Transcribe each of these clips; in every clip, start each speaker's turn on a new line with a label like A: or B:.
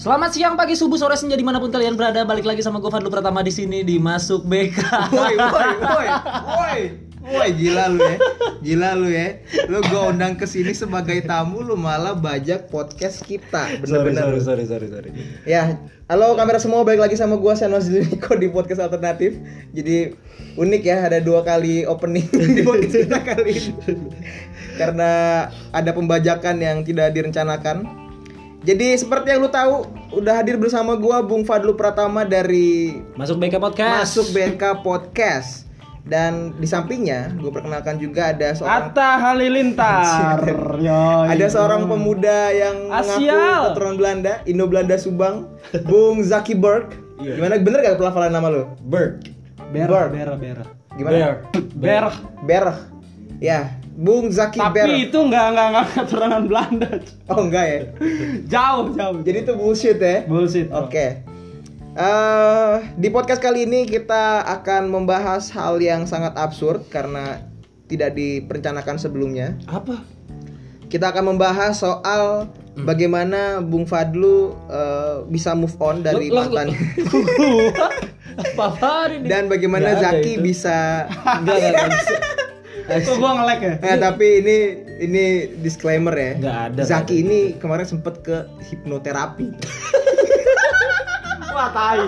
A: Selamat siang, pagi, subuh, sore, senja dimanapun kalian berada. Balik lagi sama gue Fadlu Pratama di sini di Masuk BK.
B: Woi, woi, woi, woi. Woi, gila lu ya. Gila lu ya. Lu gua undang ke sini sebagai tamu lu malah bajak podcast kita. Bener-bener.
A: sorry, sorry, sorry.
B: Ya, halo kamera semua balik lagi sama gua Shanwas Niko di podcast alternatif. Jadi unik ya ada dua kali opening di podcast kita kali ini. Karena ada pembajakan yang tidak direncanakan. Jadi seperti yang lu tahu, udah hadir bersama gua Bung Fadlu Pratama dari
A: Masuk BK Podcast.
B: masuk BNK Podcast dan di sampingnya gue perkenalkan juga ada seorang
C: Atta Halilintar. Yoi.
B: ada seorang pemuda yang mengaku
C: Asial.
B: keturunan Belanda Indo Belanda Subang Bung Zaki Berg
A: Iya.
B: gimana bener gak pelafalan nama lo
A: Bird.
C: Ber, ber, ber.
B: gimana
C: Ber.
B: Berg ya Bung Zaki Berg
C: Tapi itu nggak nggak nggak keturunan Belanda.
B: oh enggak ya
C: Jauh jauh.
B: jadi itu bullshit ya
C: bullshit. bro.
B: Oke. Eh, di podcast kali ini kita akan membahas hal yang sangat absurd karena tidak diperencanakan sebelumnya.
A: Apa?
B: Kita akan membahas soal
A: Hmm.
B: bagaimana Bung Fadlu eh, bisa move on dari
A: Lo- lo-
B: mantan
A: Apa apaan ini?
B: dan bagaimana
A: Nggak ada
B: Zaki
A: itu.
B: bisa
A: Enggak, enggak,
C: Itu gua ngelek ya.
B: Eh tapi ini ini disclaimer ya.
A: Nggak ada, nggak
B: Zaki ini kemarin sempet ke hipnoterapi.
C: Wah tai.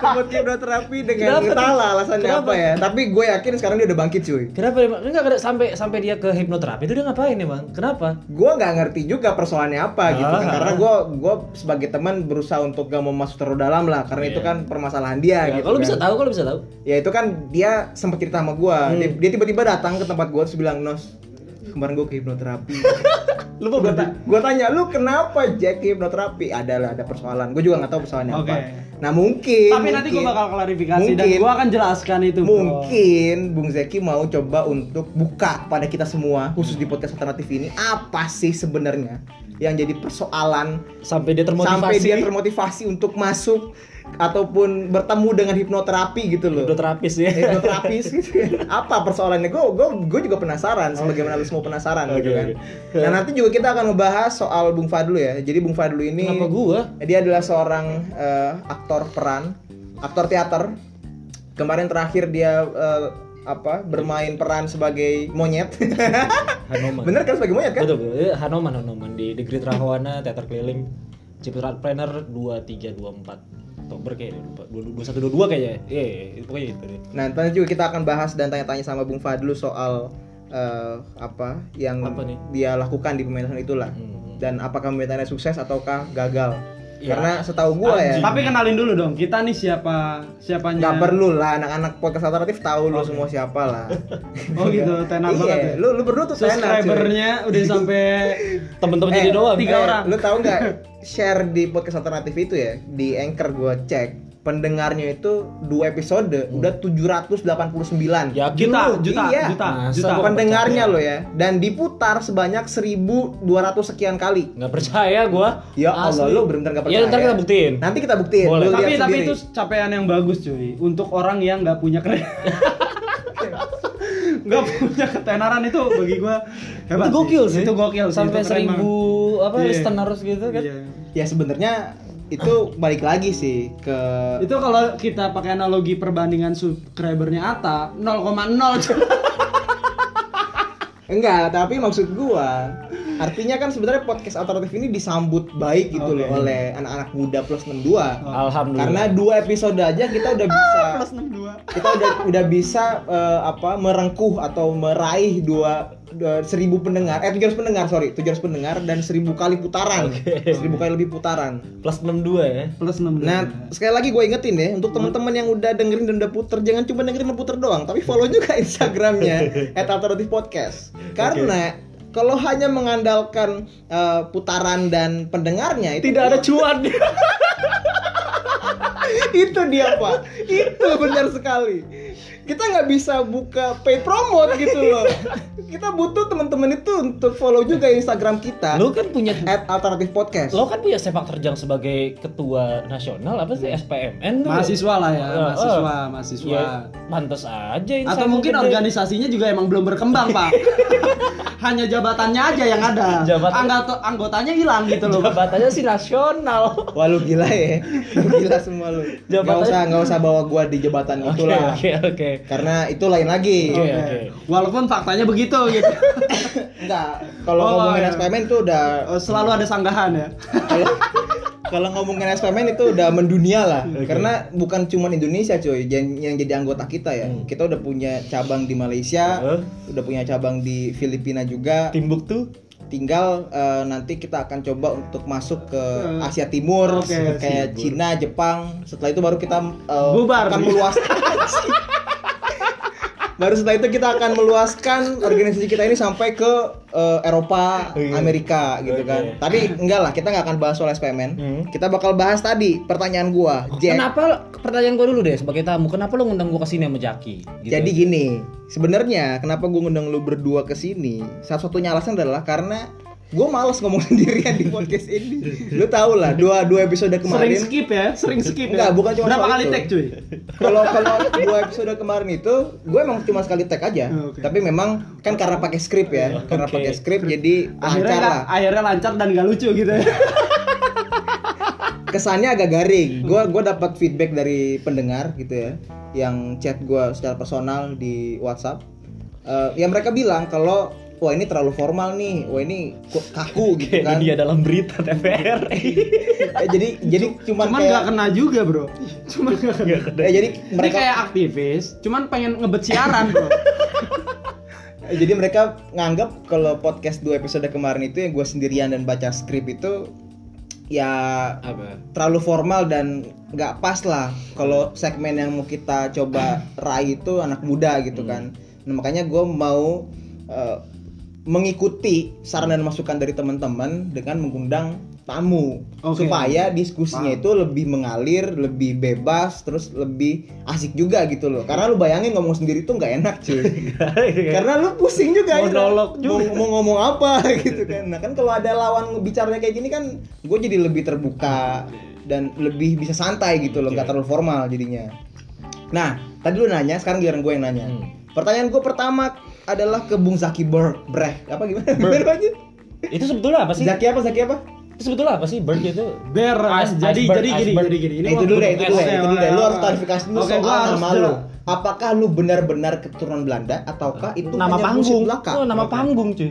B: sempet ke hipnoterapi dengan
A: Kenapa tuh?
B: kepala alasannya
A: Kenapa?
B: apa ya. Tapi gue yakin sekarang dia udah bangkit cuy.
A: Kenapa emang? Enggak, enggak sampai sampai dia ke hipnoterapi itu dia ngapain emang? Kenapa?
B: gue nggak ngerti juga persoalannya apa gitu kan
A: Ah.
B: karena gue gue sebagai teman berusaha untuk gak mau masuk terlalu dalam lah karena
C: Iya.
B: itu kan permasalahan dia
A: Ya,
B: gitu
A: kalau
B: kan.
A: bisa tahu, kalau bisa tahu.
B: ya itu kan dia sempat cerita sama gue
C: Hmm.
B: dia, dia tiba-tiba datang ke tempat gue terus bilang nos kemarin gue ke hipnoterapi
A: Lu mau
B: gue tanya lu kenapa Jack ke hipnoterapi ada ada persoalan gue juga nggak tahu persoalannya apa
C: Oke.
B: nah mungkin
C: Tapi nanti gua
B: mungkin-
C: bakal klarifikasi dan
B: mungkin-
C: gua akan jelaskan itu. bro.
B: Mungkin Bung Zeki mau coba untuk buka pada kita semua khusus di
C: Hmm.
B: podcast alternatif ini apa sih sebenarnya yang jadi persoalan
A: sampai dia termotivasi.
B: sampai dia termotivasi untuk masuk ataupun bertemu dengan hipnoterapi gitu loh.
A: hipnoterapis ya.
B: Hipnoterapis gitu. ya. Apa persoalannya? Gue juga penasaran sebagaimana lu semua penasaran gitu
A: Oh, iya, Oke,
B: kan.
A: oke.
B: Nah, nanti juga kita akan membahas soal Bung Fadlu ya. Jadi Bung Fadlu ini
A: Kenapa gua?
B: dia adalah seorang eh, aktor peran, aktor teater. Kemarin terakhir dia eh, apa bermain peran sebagai monyet.
A: Hanoman.
B: Bener kan sebagai monyet kan?
A: Betul, betul. Eh, Hanoman, Hanoman di The Great Rahawana, Teater Keliling, Cipta Planner 2324 Oktober kayaknya lupa. 2122 kayaknya. Iya, iya, iya, pokoknya gitu deh.
B: Nah, nanti juga kita akan bahas dan tanya-tanya sama Bung Fadlu soal eh, apa yang
A: Apa nih?
B: dia lakukan di pementasan itulah.
A: Hmm.
B: Dan apakah pementasannya sukses ataukah gagal?
A: Ya.
B: Karena setahu gua ya,
C: Tapi kenalin dulu dong, kita nih siapa siapanya?
B: nggak perlu lah anak-anak podcast alternatif tahu lu semua siapa lah.
C: Oh gitu, tenar
B: iya,
C: banget ya.
B: lu lu berdua tuh tenar, cuy.
C: Subscribernya udah sampai
A: Temen-temen Oh,
B: Eh,
A: jadi doang.
C: tiga
B: Eh,
C: orang.
B: Lu tahu nggak share di podcast alternatif itu ya di anchor gua cek pendengarnya itu dua episode
A: Hmm.
B: udah 789
A: Yakin
C: juta,
A: lu?
C: juta,
B: Iya.
C: juta,
A: Masa
C: juta.
A: gua
B: pendengarnya lo ya dan diputar sebanyak 1200 sekian kali.
A: Nggak percaya gua.
B: Ya Allah,
A: Asli.
B: lu bener-bener nggak percaya.
A: Ya ntar kita buktiin.
B: Nanti kita buktiin.
A: Boleh.
B: Lu
C: Tapi
B: lihat
C: tapi
B: sendiri.
C: itu capaian yang bagus cuy untuk orang yang nggak punya keren. nggak punya ketenaran itu bagi gua hebat.
A: itu gokil sih.
C: Itu gokil sih,
A: Sampai
C: itu keren
A: seribu apa
C: Iya.
A: listener gitu
C: banget.
A: kan.
C: Iya.
B: ya sebenarnya itu balik lagi sih ke
C: Itu kalau kita pakai analogi perbandingan subscribernya Ata 0,0 cuy.
B: enggak, tapi maksud gua artinya kan sebenarnya podcast alternatif ini disambut baik gitu
C: Oke.
B: loh oleh anak-anak muda plus 62.
A: Alhamdulillah.
B: Karena dua episode aja kita udah bisa
C: plus 62.
B: kita udah udah bisa eh, apa merengkuh atau meraih dua dua- seribu pendengar eh 700 pendengar sorry 700 pendengar dan seribu kali putaran seribu kali lebih putaran
A: plus 62 ya.
C: Plus 62.
B: nah
A: Iya.
B: sekali lagi gue ingetin ya untuk teman-teman yang udah dengerin dan udah puter jangan cuma dengerin dan puter doang tapi follow juga instagramnya at alternative podcast karena kalau hanya mengandalkan eh, putaran dan pendengarnya itu
A: Tidak ada cuan.
B: itu dia pak itu benar sekali kita nggak bisa buka pay promote gitu loh. Kita butuh teman-teman itu untuk follow juga Instagram kita.
A: Lu kan punya
B: At alternatif podcast.
A: lo kan punya sepak terjang sebagai ketua nasional apa sih SPMN tuh?
C: mahasiswa lah ya,
A: Eh, eh.
C: mahasiswa, mahasiswa.
A: Ya, pantes aja insan
C: Atau mungkin
A: gede.
C: organisasinya juga emang belum berkembang, Pak. Hanya jabatannya aja yang ada.
A: Jabatan-
C: Anggota- anggotanya hilang gitu loh.
A: jabatannya sih nasional.
B: Wah lu gila ya, lu gila semua lu. Gak
A: Jabatan-
B: usah nggak usah bawa gua di jabatan
A: Oke,
B: itulah,
A: oke, oke.
B: karena itu lain lagi.
A: Oke,
C: Oke.
A: oke.
C: Iya. Walaupun faktanya begitu gitu.
B: Enggak, kalau
C: Oh,
B: ngomongin
C: iya.
B: SPMN itu udah
C: Eh, Selalu ada sanggahan ya.
B: kalau- kalau ngomongin SPMN itu udah mendunia lah, karena bukan cuman Indonesia cuy yang, yang jadi anggota kita ya.
A: Hmm.
B: Kita udah punya cabang di Malaysia,
A: Heeh.
B: udah punya cabang di Filipina juga.
A: Timbuktu.
B: Tinggal eh, nanti kita akan coba untuk masuk ke
C: Eh,
B: Asia Timur,
C: oke,
A: Timur.
B: kayak Cina, Jepang. Setelah itu baru kita eh,
C: Bubar.
B: akan meluaskan. baru setelah itu kita akan meluaskan organisasi kita ini sampai ke eh, Eropa,
A: Oke.
B: Amerika gitu
A: Oke.
B: kan. Tapi enggak lah, kita nggak akan bahas soal SPMN.
A: Hmm.
B: Kita bakal bahas tadi pertanyaan gua, Jack.
D: Kenapa lo- pertanyaan gue dulu deh sebagai tamu, kenapa lo ngundang gue kesini sama Jaki? Gitu.
B: Jadi gini, sebenarnya kenapa gue ngundang lu berdua ke sini? Satu-satunya alasan adalah karena gue males ngomong sendirian di podcast ini. Lu tau lah, dua dua episode
C: Sering
B: kemarin.
C: skip ya, sering skip
B: Enggak,
C: ya.
B: bukan cuma
C: Berapa
B: soal
C: kali
B: itu.
C: tag cuy?
B: Kalau kalau dua episode kemarin itu, gue emang cuma sekali tag aja.
C: Oh, oke.
B: Tapi memang kan karena pakai skrip ya, karena
A: Oke.
B: pakai skrip jadi
C: Akhirnya
B: lancar lah.
C: nggak- akhirnya lancar dan gak lucu gitu ya.
B: kesannya agak garing. Gua gua dapat feedback dari pendengar gitu ya, yang chat gua secara personal di WhatsApp. Eh, yang mereka bilang kalau wah ini terlalu formal nih, wah ini ku- kaku gitu
A: Kayak
B: kan.
A: dia dalam berita TVR.
B: Eh, jadi jadi cuman,
C: Cuman
B: kayak
C: nggak kena juga, Bro. Cuman nggak kena.
B: eh, jadi
C: Mereka
B: mereka
C: kayak aktivis, cuman pengen ngebet siaran, Bro.
B: eh, jadi mereka nganggap kalau podcast dua episode kemarin itu yang gua sendirian dan baca skrip itu ya
A: Apa?
B: terlalu formal dan nggak pas lah kalau segmen yang mau kita coba raih itu anak muda gitu kan nah, makanya gue mau eh, mengikuti saran dan masukan dari teman-teman dengan mengundang tamu
C: Oke.
B: supaya diskusinya itu lebih mengalir lebih bebas terus lebih asik juga gitu loh karena lu bayangin ngomong sendiri tuh nggak enak cuy karena lu pusing juga gitu.
A: Monolog
B: Mau-
A: Iya. juga.
B: Mau, ngomong apa gitu kan nah kan kalau ada lawan bicaranya kayak gini kan gue jadi lebih terbuka dan lebih bisa santai gitu loh nggak terlalu formal jadinya nah tadi lu nanya sekarang giliran gue yang nanya
A: Hmm.
B: pertanyaan gue pertama adalah ke Bung Zaki Berg Breh apa gimana
A: Berg.
B: Berg aja
A: Itu sebetulnya apa sih?
B: Zaki apa Zaki apa
A: Itu sebetulnya apa sih bird itu?
C: Ber,
A: Ice-
C: jadi
A: iceberg,
C: jadi gini,
A: iceberg.
C: jadi gini.
B: Eh, itu dulu deh, itu dulu deh,
C: Oke,
B: itu dulu deh. Lu
C: oke,
B: harus
C: oke.
B: klarifikasi dulu
C: ya. Oke,
B: soal
C: gua harus
B: nama lu.
C: jelas.
B: Apakah lu benar-benar keturunan Belanda ataukah itu
A: nama
B: hanya
A: panggung.
B: musik belaka?
A: Oh, nama panggung, cuy.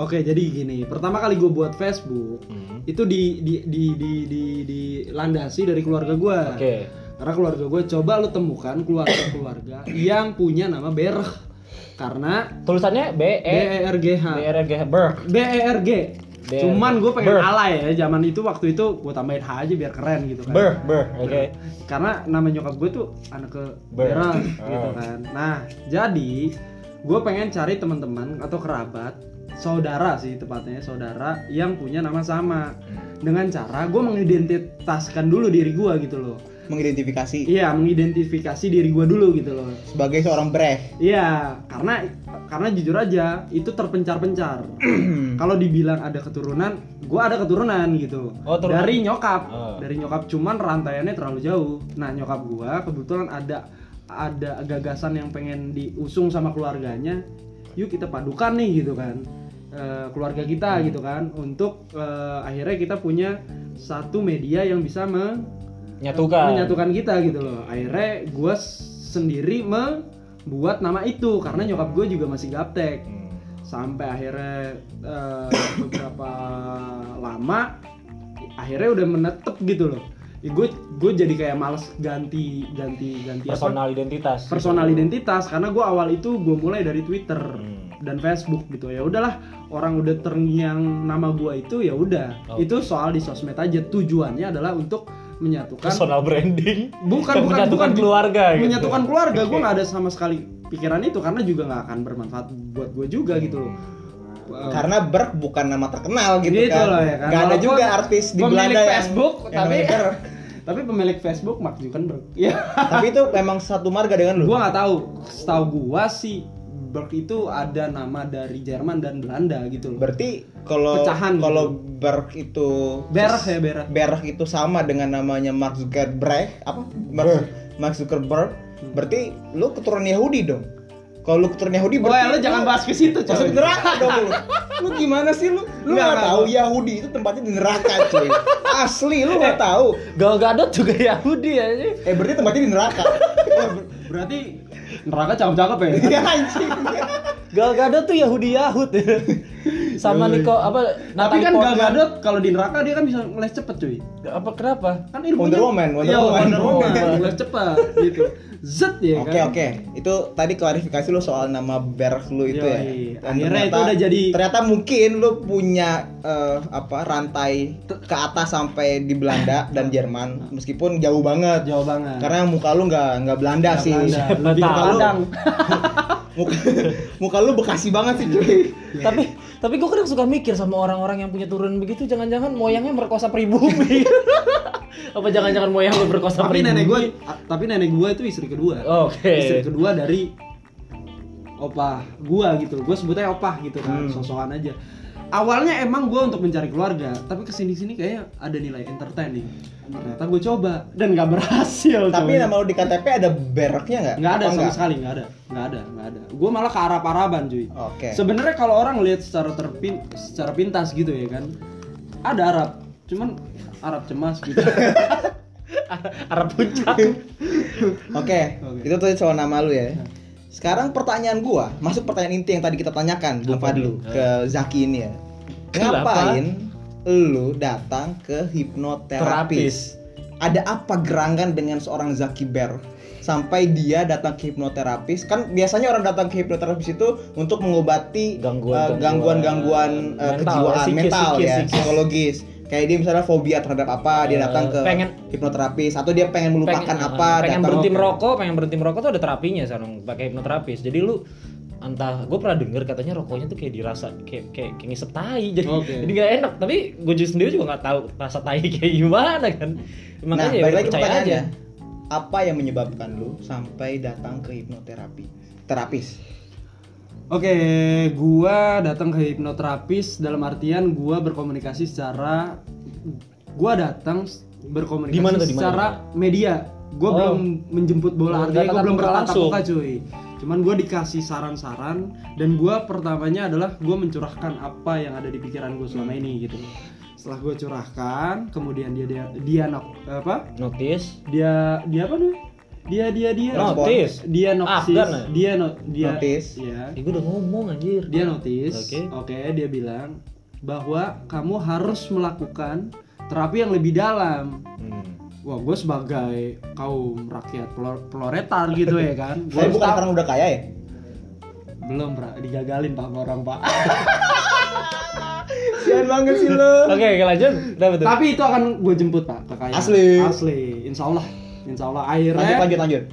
C: Oke, jadi gini. Pertama kali gue buat Facebook,
A: Hmm.
C: itu di di di di di, landasi dari keluarga gue.
A: Oke.
C: Karena keluarga gue coba lu temukan keluarga-keluarga yang punya nama Berg. Karena
A: Tulisannya B
C: B
A: E
C: E R G H.
A: B R G Berg.
C: B E R G.
A: Berg.
C: Cuman gue pengen
A: Berg.
C: alay ya zaman itu waktu itu gue tambahin H aja biar keren gitu kan.
A: Berg, Berg. Oke.
C: Karena nama nyokap gue tuh anak ke
A: Berg.
C: Berg gitu
A: Ah.
C: kan. Nah, jadi gue pengen cari teman-teman atau kerabat, saudara sih tepatnya, saudara yang punya nama sama. Dengan cara gue mengidentitaskan dulu diri gue gitu loh.
B: Mengidentifikasi
C: Iya, mengidentifikasi diri gue dulu gitu loh.
B: sebagai seorang Breh.
C: Iya, karena karena jujur aja itu terpencar-pencar. Kalau dibilang ada keturunan, gua ada keturunan gitu.
A: Oh, turunan.
C: Dari nyokap,
A: Ah.
C: dari nyokap cuman rantaiannya terlalu jauh. Nah, nyokap gua kebetulan ada ada gagasan yang pengen diusung sama keluarganya. Yuk kita padukan nih gitu kan. Eh, keluarga kita gitu kan untuk eh, akhirnya kita punya satu media yang bisa me
A: Nyatukan.
C: menyatukan kita gitu loh akhirnya gue sendiri membuat nama itu karena nyokap gue juga masih gaptek
A: Hmm.
C: sampai akhirnya eh, beberapa lama akhirnya udah menetep gitu loh gue gue jadi kayak males ganti ganti ganti apa
A: Personal identitas.
C: personal identitas karena gue awal itu gue mulai dari Twitter
A: Hmm.
C: dan Facebook gitu ya udahlah orang udah terngiang nama gue itu ya udah
A: Oh.
C: itu soal di sosmed aja tujuannya adalah untuk menyatukan
A: Personal branding.
C: bukan bukan
A: menyatukan
C: bukan
A: keluarga gitu.
C: menyatukan keluarga gue nggak ada sama sekali pikiran itu karena juga nggak akan bermanfaat buat gue juga gitu loh Eh,
B: Hmm. karena Berg bukan nama terkenal gitu,
C: gitu
B: kan.
C: loh ya kan
B: Gak ada
C: Walaupun
B: juga artis di
C: pemilik
B: Belanda yang
C: Facebook
B: yang
C: tapi
B: namanya Berg.
C: Tapi pemilik Facebook Mark Zuckerberg. Ya.
B: Tapi itu memang satu marga dengan lu.
C: gua nggak tahu. Setahu gua sih Berg itu ada nama dari Jerman dan Belanda gitu loh.
B: Berarti kalau
C: Pecahan gitu.
B: kalau Berg itu
C: Berg ya Berg.
B: Berg itu sama dengan namanya Mark Zuckerberg apa Mark, Mark Zuckerberg berarti lu keturunan Yahudi dong kalau lu keturunan Yahudi
C: Wah,
B: berarti
C: Oh, ya, lu jangan bahas ke situ,
B: masuk
C: coy.
B: neraka dong lu lu gimana sih lu lu
C: Nggak,
B: nggak
C: nggak,
B: tahu
C: gua-
B: Yahudi itu tempatnya di neraka cuy asli lu
C: Eh.
B: nggak tahu
D: Gal Gadot juga Yahudi ya sih.
B: eh berarti tempatnya di neraka
C: Berarti neraka cakep-cakep ya.
B: ya anjing
D: Gal Gadot tuh Yahudi Yahud. Sama Nico apa
C: Tapi
D: Natalie
C: kan Gal
D: Portman.
C: Gadot kalau di neraka dia kan bisa ngeles cepet cuy.
D: apa kenapa?
C: Kan ilmunya
B: Wonder Woman, Wonder
C: Iya,
B: Woman.
C: Wonder Woman, ngeles cepet gitu. Zet ya kan.
B: Oke oke, itu tadi klarifikasi lu soal nama Berg lu itu ya.
C: Yoi.
B: Dan
C: Akhirnya itu udah jadi-
B: Ternyata mungkin lu punya eh, apa rantai ke atas sampai di Belanda dan Jerman, meskipun jauh banget.
C: Jauh banget.
B: Karena muka lu nggak nggak Belanda sih.
C: Belanda, lebih ke
B: muka lu
C: Padang.
B: muka, muka lu Bekasi banget sih cuy.
D: Tapi tapi gue kadang suka mikir sama orang-orang yang punya turun begitu jangan-jangan moyangnya merkosa pribumi. apa jangan-jangan moyang lu berkosa
C: tapi
D: pribumi?
C: nenek gue tapi nenek gue itu istri kedua
D: Oke.
C: istri kedua dari opah gue gitu gue sebutnya opah gitu kan sosokan aja awalnya emang gue untuk mencari keluarga tapi kesini sini kayaknya ada nilai entertaining ternyata gue coba dan gak berhasil
B: Tapi
C: coy.
B: nama lu di KTP ada Bergnya nggak?
C: nggak ada
B: Apa
C: sama
B: nggak?
C: sekali nggak ada nggak ada nggak ada gue malah ke arah paraban cuy
B: Oke.
C: sebenarnya kalau orang lihat secara terpin secara pintas gitu ya kan ada Arab cuman Arab cemas gitu
D: Arab puncak.
B: Oke,
C: Oke.
B: itu tuh soal nama lu ya. Sekarang pertanyaan gua, masuk pertanyaan inti yang tadi kita tanyakan Bung Fadlu ke Zaki ini ya.
D: Kenapa?
B: Ngapain lu datang ke hipnoterapis? Ada apa gerangan dengan seorang Zaki Bear? Sampai dia datang ke hipnoterapis, kan biasanya orang datang ke hipnoterapis itu untuk mengobati
D: Gangguan-
B: eh, gangguan-gangguan
D: mental,
B: eh, kejiwaan,
D: psikis,
B: mental
D: psikis,
B: ya,
D: psikis.
B: psikologis. Kayak dia misalnya fobia terhadap apa, dia
D: Eh,
B: datang ke
D: pengen-
B: hipnoterapis atau dia pengen melupakan
D: Pengen-
B: apa,
D: pengen
B: datang
D: berhenti
B: ke-
D: merokok pengen berhenti merokok tuh ada terapinya sarung pakai hipnoterapis jadi lu entah gue pernah denger katanya rokoknya tuh kayak dirasa kayak kayak, kayak ngisep tai jadi
C: Oke.
D: jadi nggak enak tapi gue sendiri juga nggak tahu rasa tai kayak gimana kan
B: nah,
D: makanya ya
B: balik
D: gua percaya
B: lagi
D: aja
B: pertanyaannya. Apa yang menyebabkan lu sampai datang ke hipnoterapi? Terapis.
C: Oke, gua datang ke hipnoterapis dalam artian gua berkomunikasi secara gua datang s- berkomunikasi
D: Di mana tuh, di mana?
C: secara media. Gua
D: Oh.
C: belum menjemput
D: Belum
C: bola, artinya gua
D: bertatap
C: belum
D: muka
C: bertatap
D: langsung.
C: muka, cuy. Cuman gua dikasih saran-saran dan gua pertamanya adalah gua mencurahkan apa yang ada di pikiran gua selama ini gitu. Setelah gua curahkan, kemudian dia dia dia nok- apa?
D: notice
C: Dia dia apa namanya? Dia dia dia
D: notice
C: dia noksis,
D: Afgan ya?
C: dia no, dia
B: Notis.
C: ya
D: Eh, gue udah ngomong anjir
C: dia notice
D: Oke.
C: oke dia bilang bahwa kamu harus melakukan terapi yang lebih dalam
D: Hmm.
C: wah gue sebagai kaum rakyat pelor- peloretar gitu ya kan
B: Saya
C: Gua
B: bukan
C: tahu-
B: karena udah kaya ya.
C: belum pra, digagalin pak sama orang pak
B: Sian banget sih lu.
D: oke oke, lanjut udah betul
C: tapi itu akan gue jemput pak kekayaan
B: Asli.
C: asli insyaallah insyaallah akhirnya
B: Lanjut lanjut lanjut.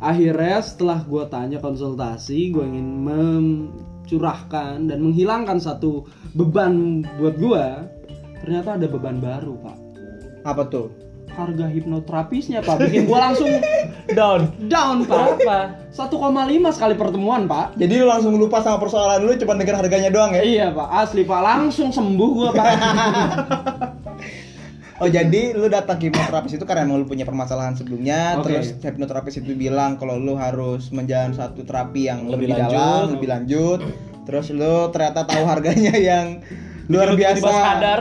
C: akhirnya setelah gue tanya konsultasi gue ingin mencurahkan dan menghilangkan satu beban buat gue ternyata ada beban baru pak
B: Apa tuh?
C: harga hipnoterapisnya pak bikin gua langsung
D: down
C: down pak
D: berapa
C: 1,5 sekali pertemuan pak
B: Jadi lu langsung lupa sama persoalan lu cuma denger harganya doang ya.
C: iya pak asli pak langsung sembuh gua pak
B: Oh jadi lu datang ke hipnoterapis itu karena emang lu punya permasalahan sebelumnya
C: Oke.
B: terus hipnoterapis itu bilang kalau lu harus menjalani satu terapi yang
D: Lebih
B: lebih,
D: lanjut.
B: dalam, lebih lanjut. Terus lu ternyata tahu harganya yang luar
D: Tiba-tiba
B: biasa.
D: sadar.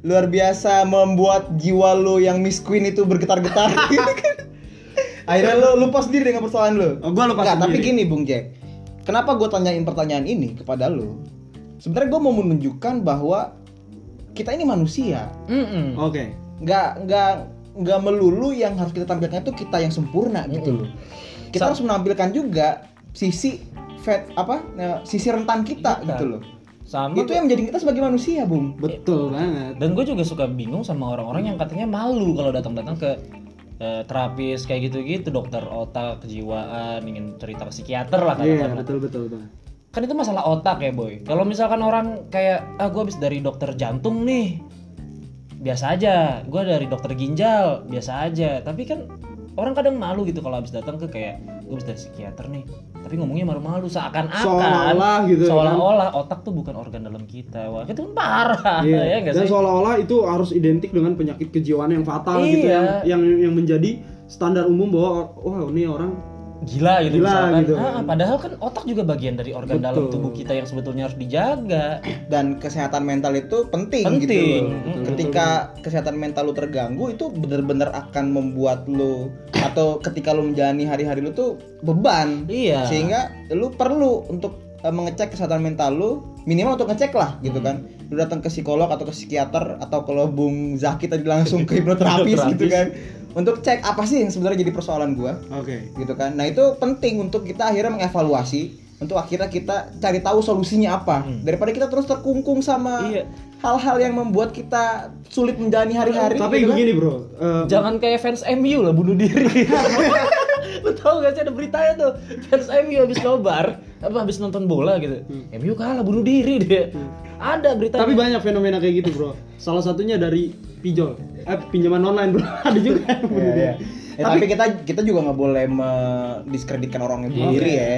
B: Luar biasa membuat jiwa lu yang Miss Queen itu bergetar-getar. Akhirnya lu lupa sendiri dengan persoalan lu.
C: Oh, gua lupa
B: Nggak, tapi
C: sendiri.
B: gini Bung Jack. Kenapa gue tanyain pertanyaan ini kepada lu? Sebenarnya gue mau menunjukkan bahwa kita ini manusia
D: Mm-mm.
B: Oh.
C: oke
B: nggak nggak nggak melulu yang harus kita tampilkan itu kita yang sempurna
C: Iya.
B: gitu loh. Kita harus menampilkan juga sisi fat apa eh, sisi rentan kita
C: Iya.
B: gitu loh.
D: sama
B: Itu yang menjadi kita sebagai manusia, Bung.
C: betul banget
D: dan gue juga suka bingung sama orang-orang yang katanya malu kalau datang-datang ke eh, terapis kayak gitu-gitu dokter otak kejiwaan ingin cerita ke psikiater lah
C: iya
D: katakanlah.
C: betul betul banget
D: kan itu masalah otak ya boy kalau misalkan orang kayak ah gue habis dari dokter jantung nih biasa aja gue dari dokter ginjal biasa aja tapi kan orang kadang malu gitu kalau habis datang ke kayak gue habis dari psikiater nih tapi ngomongnya malu-malu seakan-akan
C: Seolah-olah gitu ya kan?
D: seolah-olah otak tuh bukan organ dalam kita wah itu kan parah
C: Iya.
D: ya nggak
C: Dan
D: sih
C: seolah-olah itu harus identik dengan penyakit kejiwaan yang fatal
D: Iya.
C: gitu yang, yang yang menjadi standar umum bahwa wah ini orang
D: gila gitu
C: Gila
D: misalkan
C: gitu.
D: Ah, padahal kan otak juga bagian dari organ dalam
C: Betul.
D: tubuh kita yang sebetulnya harus dijaga
B: dan kesehatan mental itu penting, gitu
D: Penting.
B: loh.
D: Betul,
B: ketika kesehatan mental lu terganggu itu bener-bener akan membuat lu atau ketika lu menjalani hari-hari lu tuh beban
D: Iya.
B: sehingga lu perlu untuk eh, mengecek kesehatan mental lu minimal untuk ngecek lah
D: Hmm.
B: gitu kan lu datang ke psikolog atau ke psikiater atau kalau Bung Zaki tadi langsung ke hipnoterapis gitu kan untuk cek apa sih yang sebenarnya jadi persoalan gua
C: oke
B: gitu kan. Nah itu penting untuk kita akhirnya mengevaluasi untuk akhirnya kita cari tahu solusinya apa daripada kita terus terkungkung sama
D: Iya.
B: hal-hal yang membuat kita sulit menjalani hari-hari.
C: tapi
B: gitu kan.
C: begini bro eh,
D: jangan kayak fans MU lah bunuh diri lu tau gak sih ada beritanya tuh fans MU habis nobar apa habis nonton bola gitu MU kalah bunuh diri dia ada berita
C: Hmm. tapi banyak fenomena kayak gitu bro salah satunya dari pinjol eh pinjaman online bro ada juga yang
B: Iya,
C: bunuh
B: iya.
C: diri.
B: Ya, tapi, kita kita juga nggak boleh mendiskreditkan orang yang bunuh diri ya.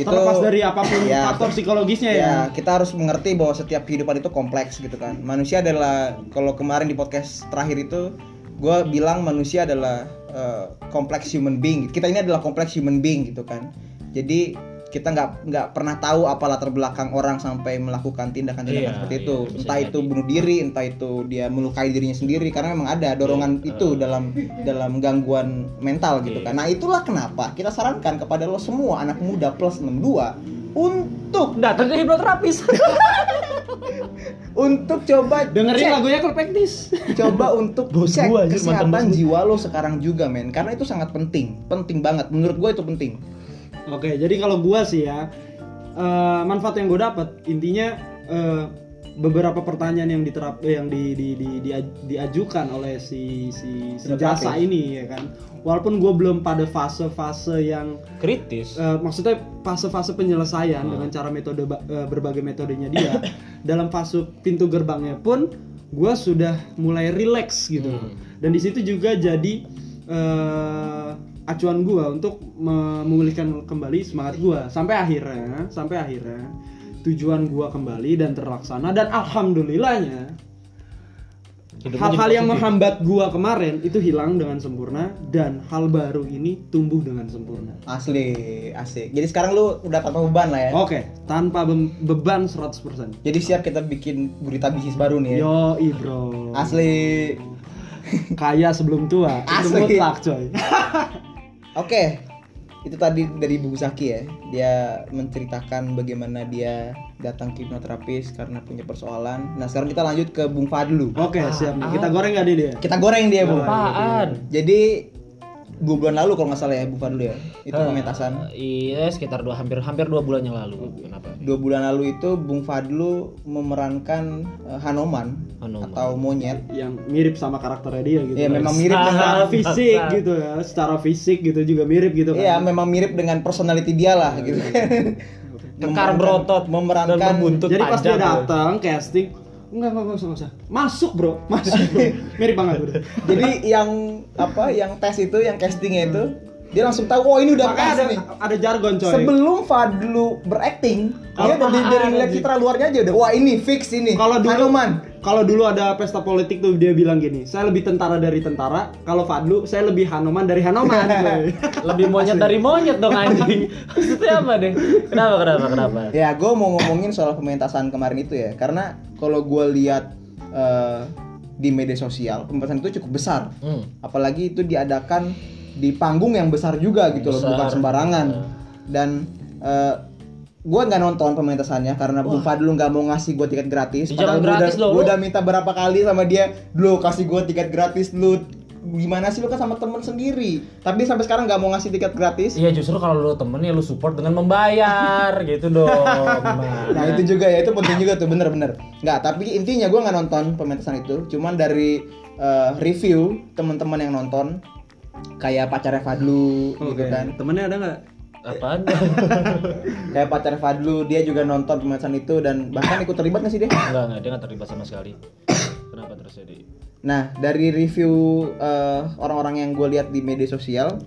B: Itu
C: terlepas dari apapun
B: Ya,
C: faktor psikologisnya ya,
B: ya kita harus mengerti bahwa setiap kehidupan itu kompleks gitu kan manusia adalah kalau kemarin di podcast terakhir itu gue bilang manusia adalah eh, kompleks human being kita ini adalah kompleks human being gitu kan jadi kita nggak nggak pernah tahu apa latar belakang orang sampai melakukan tindakan-tindakan
D: Iya,
B: seperti
D: iya,
B: itu
D: bisa
B: entah itu
D: jadi.
B: bunuh diri entah itu dia melukai dirinya sendiri karena memang
D: Iya,
B: ada dorongan
D: eh.
B: itu dalam dalam gangguan mental
D: Iya.
B: gitu kan nah itulah kenapa kita sarankan kepada lo semua anak muda plus 62 untuk
D: datang ke hipnoterapis
B: untuk coba
C: dengerin
B: cek.
C: lagunya kalau praktis
B: coba untuk
D: Bos
B: cek
D: gua, anjir, mantan
B: kesehatan
D: bos gua.
B: jiwa lo sekarang juga men karena itu sangat penting penting banget menurut gue itu penting
C: Oke, jadi kalau gua sih ya eh, manfaat yang gua dapat intinya eh, beberapa pertanyaan yang diterap eh, yang di, di- di- dia- diajukan oleh si si, si
B: Terapis.
C: jasa ini ya kan. Walaupun gua belum pada fase-fase yang
D: kritis
C: eh, maksudnya fase-fase penyelesaian dengan cara metode ba- eh, berbagai metodenya dia dalam fase pintu gerbangnya pun gua sudah mulai relax gitu dan di situ juga jadi eh, acuan gua untuk me- memulihkan kembali semangat gua sampai akhirnya sampai akhirnya tujuan gua kembali dan terlaksana dan alhamdulillahnya
D: Hidup lu
C: hal-hal
D: jadi
C: yang
D: positif.
C: menghambat gua kemarin itu hilang dengan sempurna dan hal baru ini tumbuh dengan sempurna
B: asli asik jadi sekarang lu udah tanpa beban lah ya
D: Oh.
C: Oke, tanpa bem- beban 100%.
B: jadi siap kita bikin gurita bisnis baru nih ya.
C: Yo, bro.
B: asli
C: Kaya sebelum tua.
B: Asli.
C: Itu mutlak, coy.
B: oke itu tadi dari Bung Zaki ya dia menceritakan bagaimana dia datang ke hipnoterapis karena punya persoalan nah sekarang kita lanjut ke Bung Fadlu
D: Oh.
C: Oke, siap. nih. Kita goreng gak nih dia?
B: kita goreng dia Bung
D: apaan
C: Hmm.
B: jadi dua bulan lalu kalau nggak salah ya Bung Fadlu ya itu
D: Eh,
B: pementasan
D: iya sekitar dua hampir hampir dua bulan yang lalu kenapa
B: dua bulan lalu itu Bung Fadlu memerankan eh, Hanoman,
D: Hanoman.
B: atau monyet
C: Yang mirip sama karakternya dia gitu.
B: ya
C: kan.
B: memang mirip dengan
C: secara fisik gitu ya, secara fisik gitu juga mirip gitu
B: ya
C: kan.
B: memang mirip dengan personality dia lah
C: Iya,
B: gitu
D: kekar berotot
B: memerankan-
D: dan berbuntut
C: Jadi pas dia
D: panjang, bro.
C: datang casting, enggak enggak enggak usah, enggak usah. Masuk, Bro. Masuk, Bro. mirip banget, Bro.
B: jadi yang apa yang tes itu yang castingnya itu dia langsung tahu oh ini udah
C: Makanya
B: pas
C: ada
B: nih
C: ada jargon, coy.
B: sebelum Fadlu berakting dia udah dari, dari lihat citra luarnya aja udah wah ini fix ini
C: Kalau dulu-
B: Hanoman
C: Kalau dulu ada pesta politik tuh dia bilang gini, saya lebih tentara dari tentara, kalau Fadlu saya lebih Hanoman dari Hanoman. coy.
D: lebih monyet dari monyet dong anjing maksudnya apa deh kenapa kenapa kenapa
B: Ya, gue mau ngomongin soal pementasan kemarin itu ya, karena kalau gue lihat eh, di media sosial pementasan itu cukup besar,
D: Hmm.
B: apalagi itu diadakan di panggung yang besar juga gitu loh,
D: Besar. Iya.
B: bukan sembarangan. Dan gue nggak nonton pementasannya karena Bung Fadlu nggak mau ngasih gue tiket gratis.
D: Ih, jangan
B: Padahal gue udah,
D: gratis loh,
B: gua
D: lu.
B: udah minta berapa kali sama dia, lu kasih gue tiket gratis lu gimana sih lu kan sama temen sendiri tapi sampai sekarang nggak mau ngasih tiket gratis
D: Iya justru kalau lu temen ya lu support dengan membayar gitu dong. Mas.
B: Nah itu juga ya, itu penting juga tuh bener-bener Nggak, tapi intinya gua nggak nonton pementasan itu Cuman dari eh, review teman-teman yang nonton Kayak pacarnya Fadlu gitu
C: Oke,
B: kan
C: Temennya ada nggak?
D: Apaan?
B: Kayak pacarnya Fadlu, dia juga nonton pementasan itu Dan bahkan ikut terlibat nggak sih dia?
D: enggak enggak dia nggak terlibat sama sekali. Kenapa terus jadi?
B: Nah, dari review eh, orang-orang yang gue lihat di media sosial,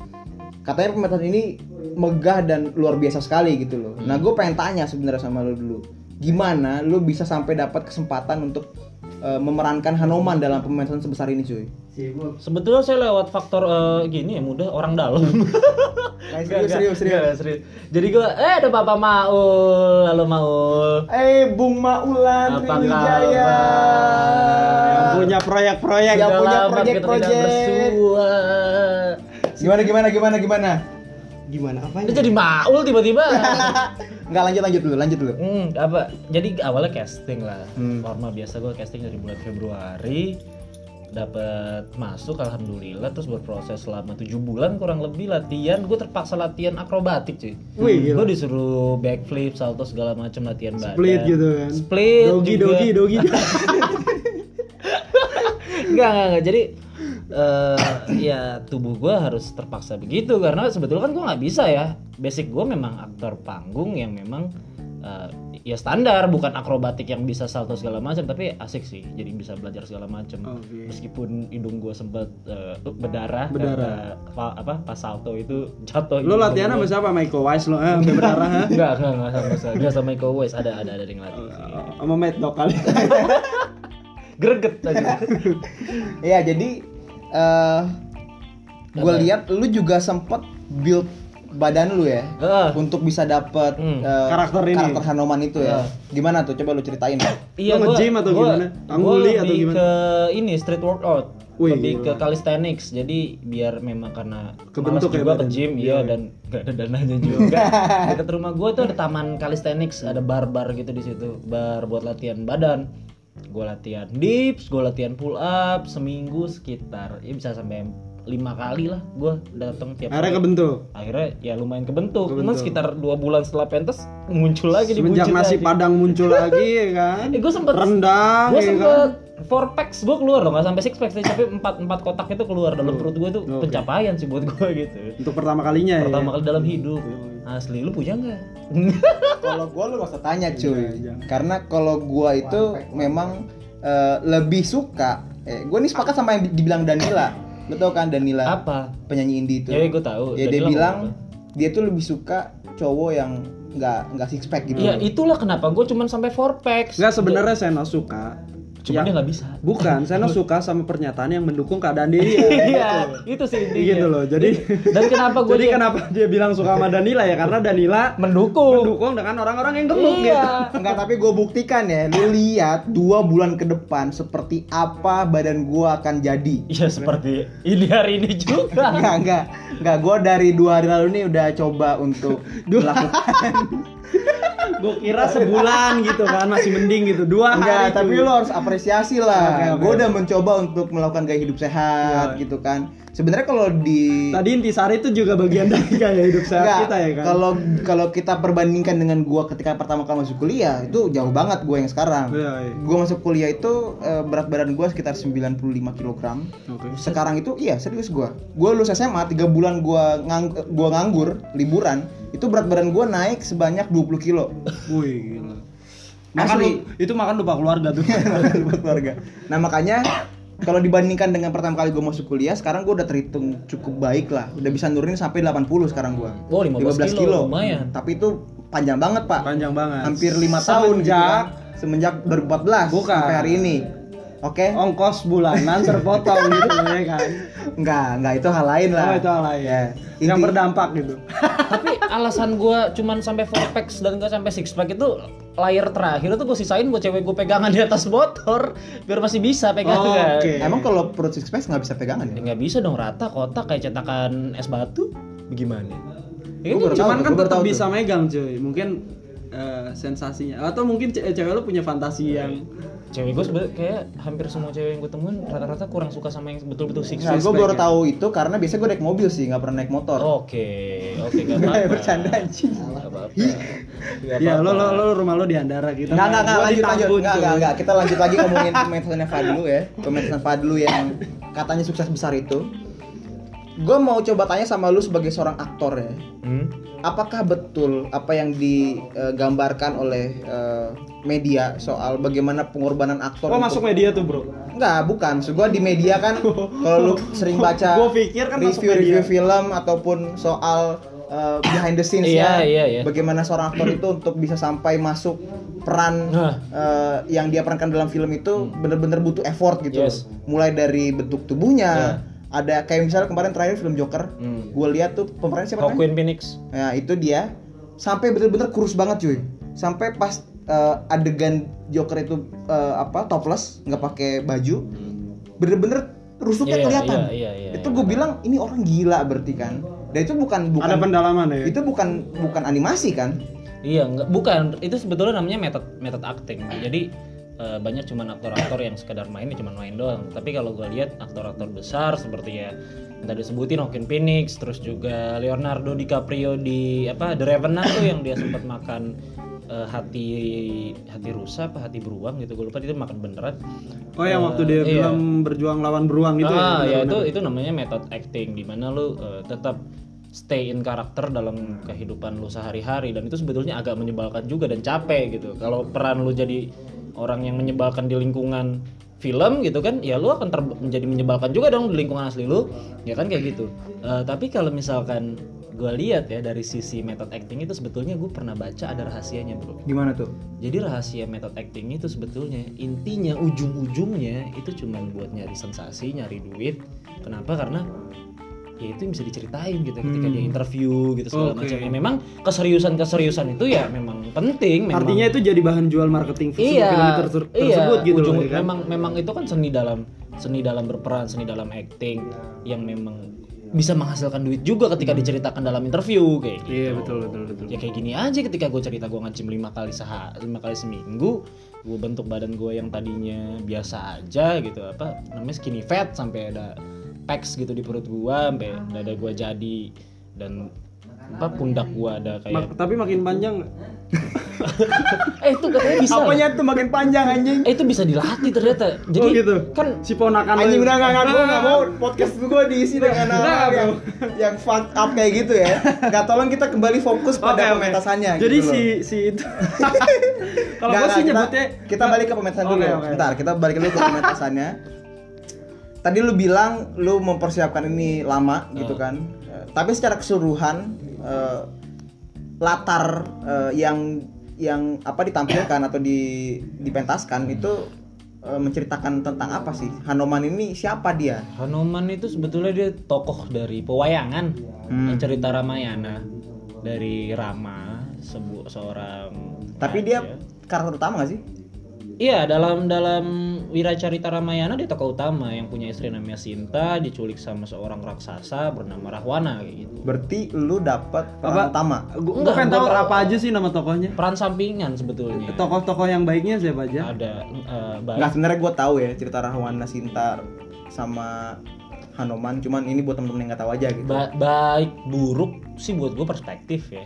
B: katanya pemetaan ini megah dan luar biasa sekali gitu loh. Nah, gue pengen tanya sebenarnya sama lo dulu, gimana lo bisa sampai dapat kesempatan untuk eh, memerankan Hanoman dalam pemetaan sebesar ini, cuy?
C: Sibuk.
D: Sebetulnya saya lewat faktor eh, gini ya mudah orang dalam.
B: Nah,
D: Nggak,
B: serius,
D: nggak,
B: serius, serius.
D: nggak, serius. Jadi gua eh ada Bapak Maul, halo Maul.
B: Eh, Bung Maulan
D: Apa
B: Triwijaya.
D: kabar?
C: Yang punya proyek-proyek.
B: Eh, Yang
D: Udah
B: punya
D: lama kita tidak
B: project-project.
D: bersua.
B: Gimana gimana gimana gimana?
C: Gimana apa
D: Dia jadi Maul tiba-tiba.
B: Enggak lanjut lanjut dulu, lanjut
C: gitu.
B: dulu.
D: hmm, apa? Jadi awalnya casting lah.
B: Hmm.
D: Normal biasa gua casting dari bulan Februari dapat masuk alhamdulillah terus berproses selama tujuh bulan kurang lebih latihan gue terpaksa latihan akrobatik cuy
C: Wih, gila.
D: gue disuruh backflip salto segala macam latihan badan
C: Split gitu kan.
D: split
C: Dogi
D: juga.
C: dogi dogi.
D: Enggak, enggak, enggak. Jadi eh ya tubuh gue harus terpaksa begitu karena sebetulnya kan gue nggak bisa ya. Basic gue memang aktor panggung yang memang eh, ya standar, bukan akrobatik yang bisa salto segala macam, tapi asik sih. Jadi bisa belajar segala macam.
C: Oke.
D: Meskipun hidung gue sempet eh, berdarah,
C: Berdarah.
D: karena pa- apa pas salto itu jatuh.
C: Lo
D: hidung
C: latihan
D: gua.
C: sama siapa? Michael Wise lo, eh, sampai berdarah. ha?
D: Enggak, enggak, enggak sama sama. Enggak sama Iko Wes, ada ada ada yang latih.
C: Sama Mad Dog kali. Oh.
D: Greget aja.
B: Iya, jadi eh gue lihat lu juga sempet build badan lu ya
D: Heeh.
B: untuk bisa dapet
D: Hmm.
B: eh,
C: Karakter ini.
B: karakter Hanoman itu ya. Gimana tuh? Coba lu ceritain.
D: Iya, gua-
C: Lo nge-gym atau
D: gua-
C: gimana?
D: gua
C: Tanguli atau
D: lebih
C: gimana?
D: ke ini street workout.
C: Wih,
D: lebih
C: gila.
D: ke calisthenics. Jadi biar memang karena malas juga
C: Kebentuk ya
D: ke
C: badan.
D: gym
C: Iya,
D: iya
C: iya.
D: dan gak ada dananya juga. Dekat rumah gua tuh ada taman calisthenics, ada bar-bar gitu di situ. Bar buat latihan badan. Gua latihan dips, gua latihan pull up seminggu sekitar ya bisa sampai lima kali lah gua datang tiap
C: Akhirnya
D: hari.
C: kebentuk.
D: akhirnya ya lumayan kebentuk,
C: Kebentuk.
D: cuman sekitar dua bulan setelah pentas muncul lagi di
C: Semenjak nasi padang muncul lagi ya kan.
D: Eh, gue sempet
C: rendang
D: Gue
C: ya
D: sempet four packs gue keluar loh, nggak sampai six packs, tapi empat empat kotak itu keluar dalam perut gue itu
C: Hmm. Oke.
D: pencapaian sih buat gue gitu.
C: kan. Untuk pertama kalinya ya.
D: Pertama kali dalam hidup. Asli lu punya nggak?
B: kalau gua lu gak usah tanya, cuy.
C: Iya, jangan.
B: Karena kalau gua itu memang eh, lebih suka eh gua nih sepakat sama yang di- dibilang Danila. Lu tau kan Danila
D: Apa?
B: penyanyi indie itu.
D: Ya gue tahu.
B: ya
D: Dan
B: dia
D: bilang
B: bilang
D: apa?
B: dia tuh lebih suka cowok yang nggak nggak six pack gitu.
D: Ya itulah kenapa gue cuman sampai four packs.
C: Enggak Hmm. sebenarnya Seno suka. Ya.
D: Cuman
C: yang-
D: dia nggak bisa.
C: Bukan, Seno suka sama pernyataan yang mendukung keadaan dia.
D: Iya, itu sih intinya.
C: gitu loh. Jadi
D: Dan kenapa gue
C: Jadi kenapa dia bilang suka sama Danila ya? Karena Danila
D: mendukung?
C: mendukung dengan orang-orang yang gemuk gitu.
D: Iya.
B: Enggak, tapi gue buktikan ya. Lu lihat dua bulan ke depan seperti apa badan gua akan jadi.
D: Iya seperti ini hari ini juga.
B: Enggak, enggak. Enggak, gue dari dua hari lalu nih udah coba untuk melakukan.
C: Gue kira sebulan gitu kan masih mending gitu. Dua
B: Enggak,
C: hari.
B: tapi
C: cuy.
B: lu harus apresiasi
C: Oke, Iya.
B: lah.
C: oke.
B: Gue udah mencoba untuk melakukan gaya hidup sehat gitu kan. Sebenarnya kalau di
C: tadi intisari itu juga bagian dari gaya hidup sehat
B: Enggak,
C: kita ya kan.
B: Kalau kalau kita perbandingkan dengan gua ketika pertama kali masuk kuliah itu jauh banget gua yang sekarang.
C: Iya, iya.
B: Gua masuk kuliah itu eh, berat badan gua sekitar 95 kg.
C: Oke.
B: Sekarang itu iya serius gua. Gua lulus SMA 3 bulan gua ngang, gua nganggur, liburan, itu berat badan gua naik sebanyak 20 kilo.
C: Wih, gila. Makan
B: Asli.
C: lu- itu makan lupa keluarga tuh.
B: buat keluarga. Nah, makanya kalau dibandingkan dengan pertama kali gua masuk kuliah, sekarang gua udah terhitung cukup baik lah. Udah bisa nurunin sampai 80 sekarang gua.
D: Oh, 15 kilo, lumayan.
B: Tapi itu panjang banget, Pak.
C: Panjang banget.
B: hampir lima tahun gitu
C: Semenjak-
B: kan. semenjak 2014
C: Bukan. Oh.
B: sampai hari ini oke
C: Ongkos bulanan terpotong gitu ya kan.
B: enggak enggak itu hal lain lah
C: Oh, itu hal lain.
B: Ya.
C: Yang
B: Inti-
C: berdampak gitu.
D: tapi alasan gua cuman sampai four packs dan gak sampai six pack itu layer terakhir tuh gue sisain buat cewek gue pegangan di atas motor biar masih bisa pegangan
C: Oke.
B: emang kalau perut six pack nggak bisa pegangan
D: Ya
B: ya
D: nggak bisa dong rata kotak kayak cetakan es batu bagaimana ya, kan?
B: Gua baru tahu
C: Cuman
B: tuh, gua
C: kan
B: baru
C: tetap
B: tahu tuh.
C: bisa megang cuy. Mungkin eh, sensasinya atau mungkin ce- eh, cewek lu punya fantasi
B: Iya.
C: yang
D: cewek gue sebenernya kayak hampir semua cewek yang gue temuin rata-rata kurang suka sama yang betul-betul six
B: Nah,
D: pack ya.
B: gue baru
C: pack-nya.
B: tahu itu karena biasanya gue naik mobil sih, nggak pernah naik
C: Oh.
B: motor.
D: oke oke gak apa-apa
B: Eh, bercanda anjing.
D: Nggak apa-apa.
C: ya lo lo lo rumah lo di Andara gitu.
B: Nggak, nggak, nggak,
C: Gua di
B: lanjut, lanjut.
C: Tambun,
B: Nggak,
C: cuy.
B: nggak, nggak. Kita lanjut lagi ngomongin pementasannya Fadlu ya. Pementasan Fadlu yang katanya sukses besar itu. gue mau coba tanya sama lu sebagai seorang aktor ya
A: Hmm?
B: apakah betul apa yang digambarkan oleh eh, media soal bagaimana pengorbanan aktor
C: Oh
B: untuk-
C: masuk media tuh bro.
B: Enggak, bukan. Maksud gua di media kan kalau lu sering baca
C: Gua pikir kan masuk
B: review-review
C: media.
B: film ataupun soal uh, behind the scenes
D: Iya,
B: ya.
D: iya, iya.
B: Bagaimana seorang aktor itu untuk bisa sampai masuk peran
D: Nah.
A: Hah.
B: uh, yang dia perankan dalam film
D: Hmm.
B: itu bener-bener butuh effort gitu.
A: Yes.
B: Mulai dari bentuk
D: Iya.
B: tubuhnya. Ada kayak misalnya kemarin terakhir film Joker,
A: Hmm.
B: gua lihat tuh pemeran siapa namanya?
A: Joaquin Phoenix.
B: Nah, itu dia sampai bener-bener kurus banget cuy. Sampai pas eh, adegan Joker itu eh, apa topless, nggak pakai baju, bener-bener rusuknya
A: Iya,
B: kelihatan.
A: iya, iya, iya,
B: itu
A: iya,
B: gue bilang ini orang gila berarti kan. Dan itu bukan bukan
C: Ada pendalaman ya.
B: itu bukan bukan animasi kan?
D: Iya, enggak, bukan. Itu sebetulnya namanya method method acting. Jadi eh, banyak cuman aktor-aktor yang sekedar main ya cuman main doang. Tapi kalau gue lihat aktor-aktor besar seperti ya yang tadi sebutin Joaquin Phoenix, terus juga Leonardo DiCaprio di apa The Revenant tuh yang dia sempat makan eh, hati hati rusa apa hati beruang gitu gue lupa itu makan beneran
C: Oh yang waktu dia
D: Eh, iya.
C: bilang berjuang lawan beruang gitu
D: ah,
C: ya.
D: ya, itu itu namanya method acting di mana lu eh, tetap stay in karakter
C: Hmm.
D: dalam kehidupan lu sehari-hari dan itu sebetulnya agak menyebalkan juga dan capek gitu. Kalau peran lu jadi orang yang menyebalkan di lingkungan film gitu kan, ya lu akan ter- menjadi menyebalkan juga dong di lingkungan asli lu, ya kan kayak gitu. Eh, tapi kalau misalkan gue lihat ya dari sisi method acting itu sebetulnya gue pernah baca ada rahasianya bro.
B: Gimana tuh?
D: Jadi rahasia method acting itu sebetulnya intinya ujung-ujungnya itu cuman buat nyari sensasi, nyari duit. Kenapa? Karena ya itu yang bisa diceritain gitu ketika dia interview gitu segala
C: Hmm. Oke.
D: macam. Ya, memang keseriusan-keseriusan itu ya memang penting. Memang
C: Artinya itu jadi bahan jual marketing
D: iya,
C: film terse- tersebut
D: iya,
C: gitu
D: ujung-
C: loh ya kan.
D: Memang memang itu kan seni dalam seni dalam berperan, seni dalam acting
C: Iya.
D: yang memang bisa menghasilkan duit juga ketika diceritakan dalam interview kayak gitu
C: Hmm. Iya betul betul betul.
D: ya kayak gini aja ketika gue cerita gue ngecim lima kali seha lima kali seminggu gue bentuk badan gue yang tadinya biasa aja gitu apa namanya skinny fat sampai ada pecs gitu di perut gue sampai dada gue jadi dan apa pundak gue ada kayak
C: Mak- tapi makin panjang nggak?
D: eh itu katanya bisa loh.
B: Apanya tuh makin panjang anjing?
D: eh itu bisa dilatih ternyata jadi
C: oh gitu.
D: kan
C: si ponakan Ah.
B: Anjing udah enggak enggak
C: ngaku
B: gua nggak mau podcast gue diisi dengan hal
C: Nggak, bro.
B: yang, yang fuck up kayak gitu ya. Enggak tolong kita kembali fokus pada pementasannya
C: Jadi
B: gitu loh.
C: si si itu. Kalau
B: Nggak,
C: gua sih
B: nggak, kita-
C: nyebutnya
B: kita, balik ke pementasan
C: Oke,
B: dulu.
C: oke.
B: Bentar, kita balik dulu ke pementasannya. Tadi lu bilang lu mempersiapkan ini lama gitu
C: Oh.
B: kan. Eh, Tapi secara keseluruhan eh, latar eh, yang yang apa ditampilkan atau di dipentaskan itu eh, menceritakan tentang apa sih? Hanoman ini siapa dia?
D: Hanoman itu sebetulnya dia tokoh dari pewayangan
B: Hmm.
D: cerita Ramayana dari Rama sebu- seorang
B: Tapi dia
D: raja.
B: karakter utama gak sih?
D: Iya, dalam dalam Wiracarita Ramayana dia tokoh utama yang punya istri namanya Sinta diculik sama seorang raksasa bernama Rahwana kayak gitu.
B: Berarti lu dapat
C: Apa?
B: peran utama.
C: gua, gua
D: Enggak,
C: pengen tahu
D: gua-
C: apa aja sih nama tokohnya.
D: Peran sampingan sebetulnya.
C: Tokoh-tokoh yang baiknya siapa aja?
D: Ada eh, baik.
B: Nah sebenarnya gue tahu ya cerita Rahwana Sintar sama Hanoman, cuman ini buat temen-temen yang nggak tahu aja gitu.
D: Ba- baik buruk sih buat gue perspektif ya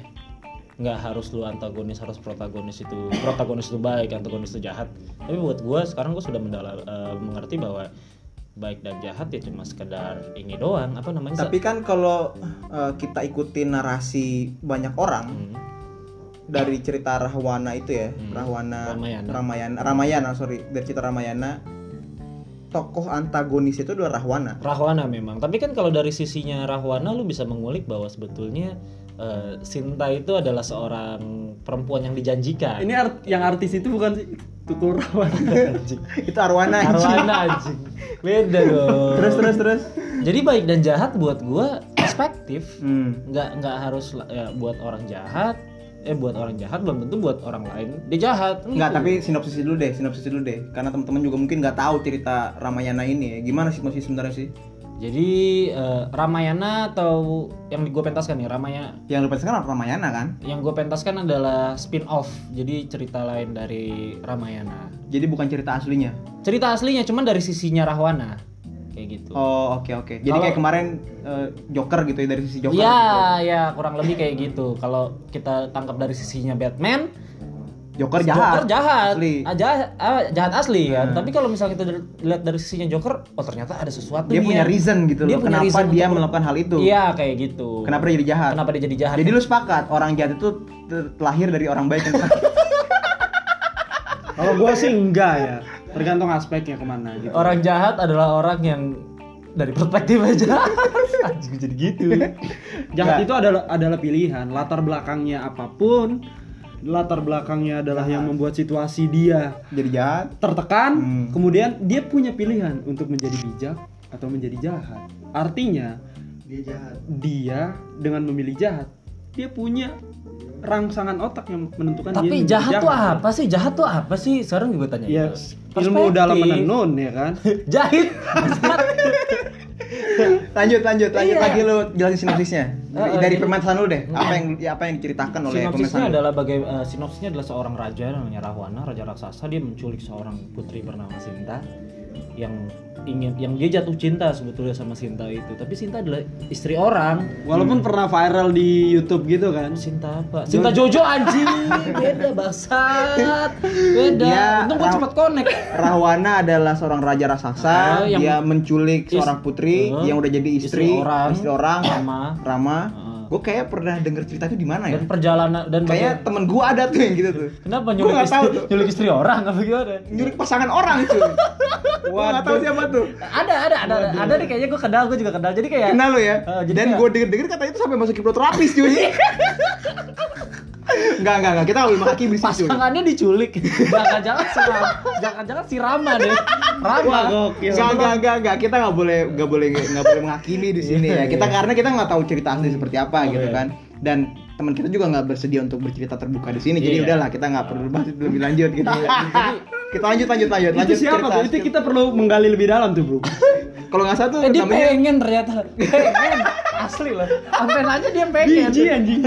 D: nggak harus lu antagonis harus protagonis itu protagonis itu baik antagonis itu jahat tapi buat gue sekarang gue sudah mendala- eh, mengerti bahwa baik dan jahat ya cuma sekedar ini doang apa namanya
B: Tapi kan kalau eh, kita ikutin narasi banyak orang
D: Hmm.
B: dari cerita Rahwana itu ya,
D: Hmm.
B: Rahwana
D: Ramayana.
B: Ramayana, Ramayana sorry dari cerita Ramayana tokoh antagonis itu adalah Rahwana.
D: Rahwana memang. Tapi kan kalau dari sisinya Rahwana lu bisa mengulik bahwa sebetulnya eh, Sinta itu adalah seorang perempuan yang dijanjikan.
C: Ini art- yang artis itu bukan sih Tutur Rawan.
B: itu Arwana. Nah, anjing.
D: Rahwana anjing. Beda dong.
B: Terus terus terus.
D: Jadi baik dan jahat buat gua perspektif.
B: Hmm.
D: Nggak nggak harus la- ya, buat orang jahat eh buat orang jahat belum tentu buat orang lain dia jahat.
B: Enggak,
D: Gitu.
B: tapi sinopsis dulu deh, sinopsis dulu deh. Karena teman-teman juga mungkin nggak tahu cerita Ramayana ini ya. Gimana sih sinopsis sebenarnya sih?
D: Jadi eh, Ramayana atau yang gue pentaskan ya Ramayana
B: Yang lu pentaskan Ramayana kan?
D: yang gue pentaskan adalah spin-off jadi cerita lain dari Ramayana
B: Jadi bukan cerita aslinya.
D: cerita aslinya cuman dari sisinya Rahwana kayak gitu
B: Oh, oke oke. Jadi
D: Kalau-
B: kayak kemarin eh, Joker gitu ya dari sisi Joker.
D: Iya. ya ya kurang lebih kayak gitu kalau kita tangkap dari sisinya Batman
B: Joker jahat.
D: Joker jahat,
B: Asli. Hmm.
D: Ah, jahat, ah, jahat asli kan. Tapi kalau misalnya kita del- lihat dari sisinya Joker, oh ternyata ada sesuatu
B: Dia
D: nih
B: punya
D: yang-
B: reason
D: iya.
B: gitu
D: Dia
B: loh.
D: punya
B: Kenapa
D: reason
B: dia
D: untuk-
B: melakukan hal itu?
D: Iya kayak gitu.
B: Kenapa dia jadi jahat?
D: Kenapa dia jadi jahat?
B: Jadi lu sepakat orang jahat itu ter- terlahir dari orang baik yang
D: Iya.
B: sakit.
C: Kalau gua sih enggak ya, tergantung aspeknya kemana gitu.
D: orang jahat adalah orang yang dari perspektif aja. Anjing jadi gitu.
C: Jahat
B: Nggak.
C: itu adalah adalah pilihan, latar belakangnya apapun, latar belakangnya adalah yang membuat situasi dia
B: jadi jahat.
C: tertekan,
B: Hmm.
C: kemudian dia punya pilihan untuk menjadi bijak atau menjadi jahat. Artinya
E: dia jahat
C: dia dengan memilih jahat, dia punya rangsangan otak yang menentukan Kan dia
D: Tapi
C: menjadi
D: jahat tuh apa sih? Jahat tuh apa sih? Sekarang gue tanya
C: Ya,
D: itu.
C: ilmu
D: Perspektif.
C: dalam menenun ya kan.
D: Jahit.
B: Lanjut lanjut
D: Iya.
B: lanjut lagi lu jelasin sinopsisnya. Dari-
D: Eh, eh,
B: dari
D: jadi-
B: pemesan lu deh. Apa yang ya, apa yang diceritakan oleh pemesan
D: Iya. Sinopsisnya
B: lu?
D: adalah bagai eh, sinopsisnya adalah seorang raja namanya Rahwana, raja raksasa dia menculik seorang putri bernama Sinta yang ingin yang dia jatuh cinta sebetulnya sama Sinta itu. Tapi Sinta adalah istri orang.
C: Walaupun pernah viral di YouTube gitu kan.
D: Sinta apa? Sinta Jojo anjing. Beda bangsat. Beda.
B: Dia
D: Untung gua
B: Rah-
D: cepet connect.
B: Rahwana adalah seorang raja raksasa,
D: Ah, yang-
B: dia menculik
D: Is-
B: seorang putri
D: Eh,
B: yang udah jadi istri,
D: istri orang,
B: istri orang,
D: Rama.
B: Rama.
D: Ah.
B: Gue kayak pernah denger cerita itu di mana ya?
D: Dan perjalanan dan
B: Kayaknya
D: baga-
B: temen gue ada tuh yang gitu tuh.
D: Kenapa
B: Gue
D: nyulik
B: nggak
D: istri,
B: tahu tuh.
D: nyulik istri orang apa gimana?
B: Nyulik pasangan orang cuy. Gue nggak tahu siapa tuh.
D: Ada, ada, ada, ada nih kayaknya gue kenal, gue juga kenal. Jadi kayak
B: Kenal lo ya?
D: Eh, jadi
B: Dan
D: kayak-
B: gue denger-denger katanya itu sampai masuk hipnoterapis cuy. Enggak, enggak, enggak. Kita nggak boleh menghakimi sih cuy.
D: pasangannya diculik. Jangan-jangan si Rama, jangan-jangan si Rama deh. Rama.
C: gokil.
B: Enggak, enggak, enggak, enggak. Kita nggak boleh nggak boleh nggak boleh menghakimi di sini ya. Kita karena kita nggak tahu cerita asli seperti apa gitu kan. Dan teman kita juga nggak bersedia untuk bercerita terbuka di sini. Jadi
D: Iya.
B: udahlah, kita nggak perlu bahas itu lebih lanjut gitu. kita lanjut lanjut lanjut
C: Itu
B: lanjut
C: siapa
B: cerita.
C: tuh? Itu kita perlu menggali lebih dalam tuh, Bro.
B: Kalau nggak satu
D: Eh, dia
B: namanya
D: pengen ternyata. Pengen. Asli loh. Sampai nanya dia pengen.
C: Biji anjing.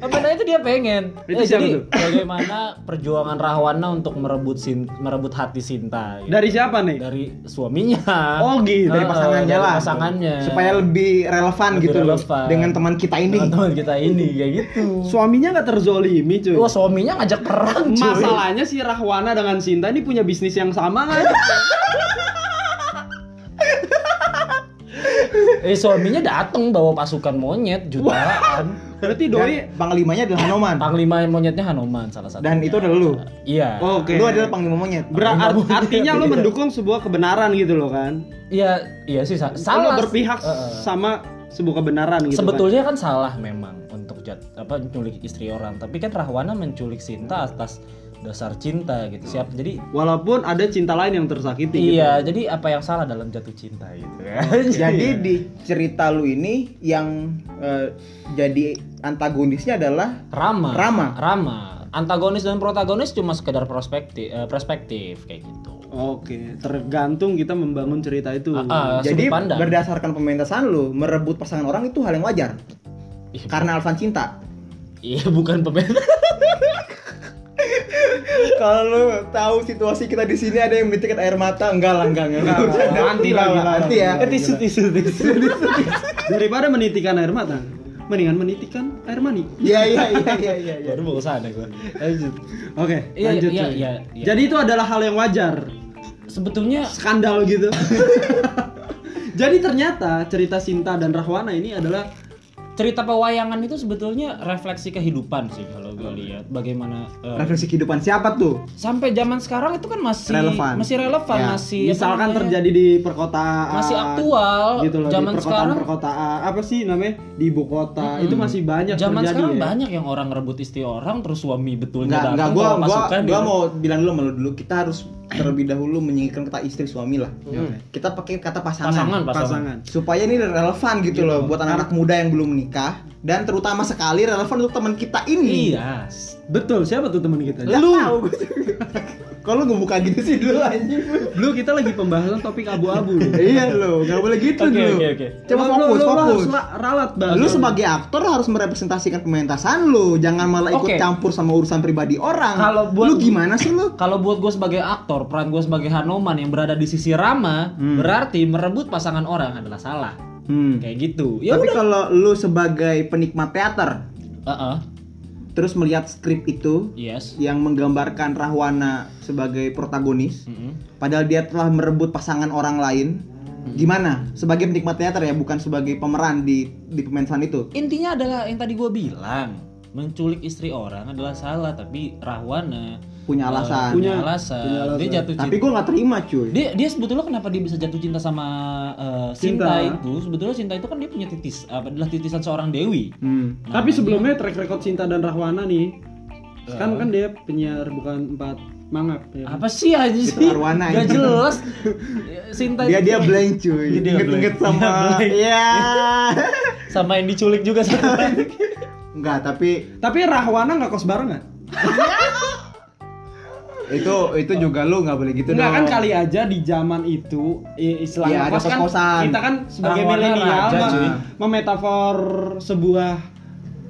D: Apa namanya itu dia pengen.
C: Itu
D: Eh,
C: siapa
D: jadi
C: tuh?
D: bagaimana perjuangan Rahwana untuk merebut sin merebut hati Sinta gitu.
C: Dari siapa nih?
D: Dari suaminya.
C: Oh, gitu.
D: Eh,
B: dari
D: eh,
B: pasangannya
D: dari
B: lah.
D: Pasangannya.
B: Supaya lebih relevan
D: Lebih
B: gitu loh
D: relevan.
B: dengan teman kita ini.
D: Dengan teman kita ini kayak gitu.
C: Suaminya nggak terzolimi Oh, cuy.
D: Wah, suaminya ngajak perang, cuy.
C: Masalahnya si Rahwana dengan Sinta ini punya bisnis yang sama kan? nggak?
D: Eh, suaminya datang bawa pasukan monyet jutaan.
C: Berarti doi.
B: Dan panglimanya adalah Hanoman.
D: Panglima monyetnya Hanoman salah satu.
B: Dan itu adalah Oh. lu.
D: Iya.
C: Oke.
B: Lu adalah panglima monyet.
C: Berat artinya lo mendukung sebuah kebenaran gitu loh kan.
D: Iya, iya sih sa-
C: Salah
D: salah.
C: berpihak
D: Heeh.
B: gitu
C: sama sebuah kebenaran gitu.
D: Sebetulnya kan salah memang untuk jat, apa menculik istri orang, tapi kan Rahwana menculik Sinta atas dasar cinta gitu. Siap. Jadi
C: Kan. Walaupun ada cinta lain yang
B: gitu.
C: tersakiti. gitu,
D: iya, jadi apa yang salah dalam jatuh cinta gitu ya.
B: Hmm, Jadi di cerita lu ini yang eh, jadi antagonisnya adalah
D: Rama.
B: Rama.
D: Rama. Antagonis dan protagonis cuma sekedar perspektif eh, perspektif kayak gitu.
C: Gitu. Oke, tergantung kita membangun cerita itu.
D: Ah, ah,
B: Hmm,
D: sudut
B: jadi
D: pandang.
B: berdasarkan pementasan lu merebut pasangan orang itu hal yang wajar
D: Iya.
B: karena alasan cinta.
D: Iya, bukan pembeda.
B: Kalau lu tahu situasi kita di sini ada yang menitikkan air mata, enggak lah, enggak, enggak.
C: Nanti lah, gila,
B: nanti ya.
C: gila, gila. Daripada menitikan air mata, mendingan menitikan air mani.
B: Iya, iya, iya, iya, iya, iya.
D: Baru mau kesana gue. Lanjut.
C: Oke,
D: Iya,
C: lanjut.
D: iya,
C: cuy.
D: iya, iya.
C: Jadi itu adalah hal yang wajar,
D: Sebetulnya
C: skandal gitu. Jadi ternyata cerita Sinta dan Rahwana ini adalah
D: cerita pewayangan itu sebetulnya refleksi kehidupan sih kalau gue lihat bagaimana eh,
B: Refleksi kehidupan siapa tuh?
D: sampai zaman sekarang itu kan masih
B: Relevan.
D: masih relevan
B: Ya.
D: masih apa
C: misalkan
D: namanya,
C: terjadi di perkotaan
D: Iya, masih aktual
C: gitu loh,
D: zaman
C: di
D: sekarang
C: perkotaan-perkotaan apa sih namanya di ibu kota itu masih banyak
D: zaman
C: terjadi
D: sekarang
C: ya.
D: banyak yang orang rebut istri orang terus suami betulnya
B: Enggak, enggak,
D: datang
B: gua,
D: bawa
B: gua,
D: pasukan, gitu.
B: gua
D: dia-
B: mau bilang dulu sama lu dulu, kita harus terlebih dahulu menyingkirkan kata istri suami lah.
C: Hmm.
B: Kita pakai kata
D: pasangan pasangan
C: pasangan
B: supaya ini relevan gitu, loh buat anak-anak muda yang belum menikah dan terutama sekali relevan untuk teman kita ini.
D: iya
C: betul siapa tuh teman kita
B: Lu. Kalau lu ngebuka gitu sih dulu anjing.
C: lu kita lagi pembahasan topik abu-abu nih.
B: iya lo, nggak boleh gitu
D: Oke,
B: dulu.
D: oke, oke.
B: Coba
C: Lu- lu-
B: fokus,
C: lu- lu
B: fokus.
C: harus la- ralat banget
B: Lu sebagai aktor harus merepresentasikan pementasan lu, jangan malah ikut
D: Oke.
B: campur sama urusan pribadi orang.
D: Kalau buat-
B: lu gimana sih lu?
D: kalau buat gue sebagai aktor peran gue sebagai Hanoman yang berada di sisi Rama berarti merebut pasangan orang adalah salah
B: Hmm.
D: kayak gitu ya
B: Tapi
D: udah
B: kalau lu sebagai penikmat teater,
D: Heeh.
B: terus melihat skrip itu
D: Yes.
B: yang menggambarkan Rahwana sebagai protagonis,
D: Mm-mm.
B: padahal dia telah merebut pasangan orang lain. Gimana? Sebagai penikmat teater ya, bukan sebagai pemeran di di pemensan itu.
D: Intinya adalah yang tadi gue bilang, menculik istri orang adalah salah, tapi Rahwana
B: Punya
D: eh,
B: alasan.
D: punya,
C: Punya-
D: alasan.
C: punya alasan.
D: Dia jatuh cinta.
B: Tapi gue nggak terima cuy.
D: dia dia sebetulnya kenapa dia bisa jatuh cinta sama eh, Sinta
C: Sinta.
D: itu sebetulnya Sinta itu kan dia punya titis apa adalah titisan seorang dewi
B: Hmm.
D: Nah,
C: Tapi sebelumnya track record Cinta dan Rahwana nih.
B: Ah.
C: Kan kan dia penyiar bukan empat mangap ya.
D: apa sih aja sih
B: Arwana
D: gak
B: itu.
D: jelas Sinta
B: Dia dia
D: itu
B: blank cuy.
D: Dia- dia
B: Inget-inget
D: blank.
B: sama
D: Dia blank.
B: ya.
D: sama yang diculik juga sama
B: Enggak, tapi
C: Tapi Rahwana nggak kos bareng nggak?
B: itu itu juga lu nggak boleh gitu
C: Enggak
B: dong.
C: kan kali aja di zaman itu
B: Iya,
C: i- istilahnya
B: ada
C: kos kan
B: kos-kosan.
C: kita kan sebagai
D: Rahwana
C: milenial
D: raja,
C: mem-
B: cuy.
C: memetafor sebuah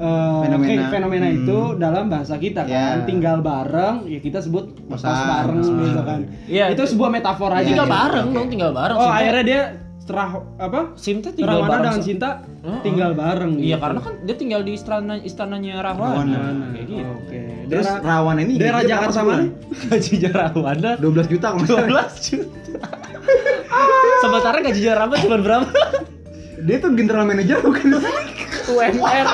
C: eh,
B: Fenomena.
C: kayak fenomena
B: Hmm.
C: itu dalam bahasa kita
B: Ya.
C: kan tinggal bareng ya kita sebut kos
B: Kosan.
C: bareng
B: Kosan.
C: gitu kan.
D: Iya.
C: Itu sebuah metafor aja.
F: tinggal
B: iya,
F: bareng
B: oke.
F: dong, tinggal bareng.
C: Oh,
F: Sinta.
C: akhirnya dia serah apa?
D: Sinta tinggal
C: Rahwana
D: bareng
C: dengan
D: sama-
C: Cinta
D: Heeh.
C: tinggal bareng.
D: iya
C: gitu.
D: karena kan dia tinggal di istana istananya
B: Rahwana.
D: Rahwana, kayak gitu
C: Oh, Oke.
B: Terus
C: Daerah-
B: Rawan ini
C: daerah
B: gajinya
C: Jakarta
B: berapa
C: mana?
B: sebulan?
D: gajinya Rahwana
B: 12 juta kalau nggak salah.
D: 12 juta sementara gajinya Rahwana cuma berapa
B: Dia tuh general manager bukan
C: UMR.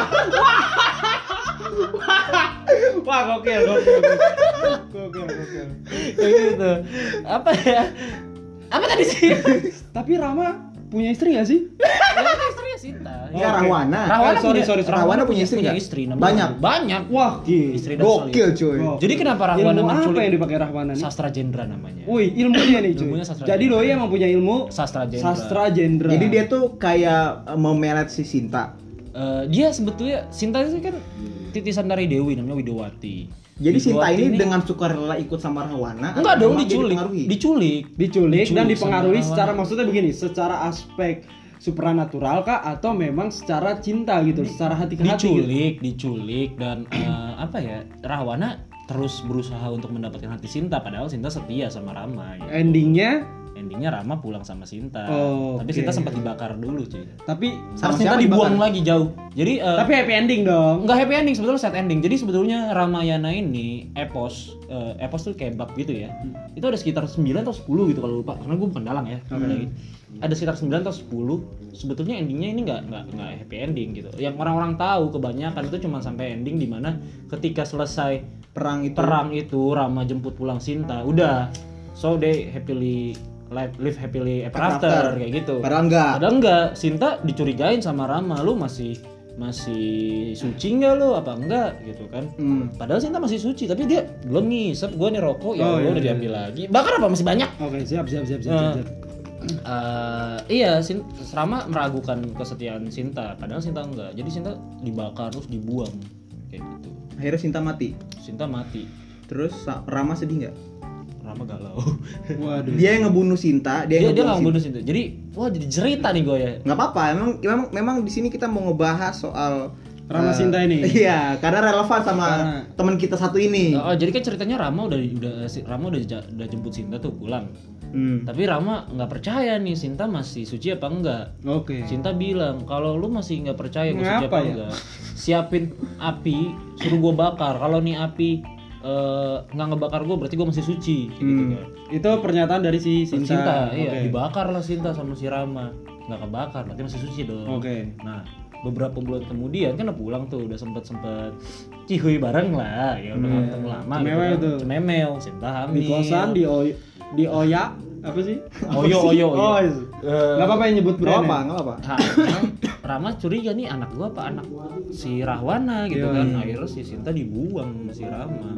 C: Wah, gokil, gokil. Gokil, gokil.
D: kayak gitu apa ya
F: Apa tadi sih?
C: Tapi Rama punya istri gak sih?
F: Istrinya Sinta.
B: Enggak
C: Oke.
B: Rawana.
C: Rahwana Eh,
D: Rahwana
C: sorry,
D: punya-
C: sorry, sorry.
B: Rawana punya istri
D: Oh, punya
B: nggak?
D: Iya, istri namanya.
B: Banyak.
F: Banyak.
C: Wah, gila.
D: istri dan
B: Gokil
D: solid.
B: cuy.
C: Gokil.
D: Jadi kenapa Rahwana
C: ilmu
D: menculik?
C: apa yang dipakai Rahwana nih?
D: sastra jendra namanya
C: Wih, ilmunya nih cuy.
D: Ilmunya sastra
C: Jadi
D: jendera.
C: doi emang punya ilmu
D: Sastra jendera.
C: Sastra jendera.
B: Jadi dia tuh kayak eh, memelet si Sinta.
D: Eh, dia sebetulnya Sinta itu kan titisan dari Dewi namanya Widowati.
B: Jadi Sinta
D: Widowati
B: ini dengan sukarela ikut sama Rawana.
D: enggak
B: atau
D: dong
B: memang dia
D: diculik,
B: dipengaruhi?
D: diculik.
C: diculik, dan
D: Diculik
C: dipengaruhi
D: sama
C: secara
D: Rahwana.
C: maksudnya begini, secara aspek supranatural kah atau memang secara cinta gitu, secara hati ke hati. gitu.
D: diculik, diculik dan eh, apa ya? Rahwana terus berusaha untuk mendapatkan hati Sinta padahal Sinta setia sama Rama.
C: Eh.
D: gitu.
C: Endingnya
D: Endingnya Rama pulang sama Sinta.
C: Oh,
D: Tapi
C: oke.
D: Sinta sempat dibakar dulu cuy.
C: tapi
D: Terus
B: Sama
D: Sinta
B: siapa
D: dibuang lagi jauh. Jadi eh,
C: tapi happy ending dong.
D: nggak happy ending sebetulnya sad ending jadi sebetulnya Ramayana ini epos eh, epos tuh kayak bab gitu ya itu ada sekitar 9 atau 10 gitu kalau lupa karena gue bukan dalang ya apalagi. ada sekitar 9 atau 10 sebetulnya endingnya ini nggak nggak nggak happy ending gitu yang orang-orang tahu kebanyakan itu cuma sampai ending dimana ketika selesai
B: perang itu.
D: perang itu Rama jemput pulang Sinta udah so they happily live, live happily ever after,
B: After.
D: kayak gitu
B: Padahal enggak.
D: Padahal enggak, Sinta dicurigain sama Rama, lu masih masih suci nggak lu apa enggak gitu kan
B: Hmm.
D: padahal Sinta masih suci tapi dia belum ngisep gua nih rokok ya Allah,
C: Oh, iya,
D: udah
C: iya.
D: diambil lagi bakar apa masih banyak
C: Oke, siap siap siap siap. siap, siap.
D: Eh, iya Sin Rama meragukan kesetiaan Sinta padahal Sinta enggak jadi Sinta dibakar terus dibuang kayak gitu
B: Akhirnya Sinta mati.
D: Sinta mati
B: Terus Sa- Rama sedih nggak?
D: Rama galau
C: Waduh.
B: Dia yang ngebunuh Sinta,
D: dia
B: dia yang
D: Iya, dia nggak
B: ngebunuh Sinta.
D: ngebunuh Sinta jadi wah jadi cerita nih gue ya
B: nggak apa-apa emang memang memang di sini kita mau ngebahas soal
C: Rama
B: eh,
C: Sinta ini.
B: iya karena relevan sama
C: Karena-
B: teman kita satu ini
D: Oh, jadi kan ceritanya Rama udah udah si- Rama udah ja- udah jemput Sinta tuh pulang.
B: Hmm.
D: Tapi Rama nggak percaya nih Sinta masih suci apa enggak.
C: Oke.
D: Sinta bilang kalau lu masih nggak percaya gue suci
C: Ngapa
D: apa
C: ya?
D: enggak, siapin api suruh gue bakar. Kalau nih api eh, nggak ngebakar gue berarti gue masih suci. Kayak gitu
B: Hmm.
D: kan.
C: Itu pernyataan dari si
D: Sinta,
C: Sinta.
D: iya
C: Oke.
D: dibakar lah Sinta sama si Rama nggak kebakar berarti masih suci dong.
C: Oke.
D: Nah, beberapa bulan kemudian kan udah pulang tuh udah sempet sempet cihuy bareng lah ya udah ketemu lama
C: Cemewel
D: gitu
C: tuh.
D: kan. Cemewel, Sinta hamil.
C: Hmm, Di kosan di Oy di Oya apa sih?
D: Oyo Oyo. Eh, Oyo.
C: Oh, is- nggak apa-apa yang nyebut
B: nggak
C: brand.
B: apa
C: ya?
B: nggak apa
D: Nah, Rama curiga nih anak gua apa anak si Rahwana gitu
C: Iya,
D: kan.
C: iya.
D: Akhirnya si Sinta dibuang sama si Rama.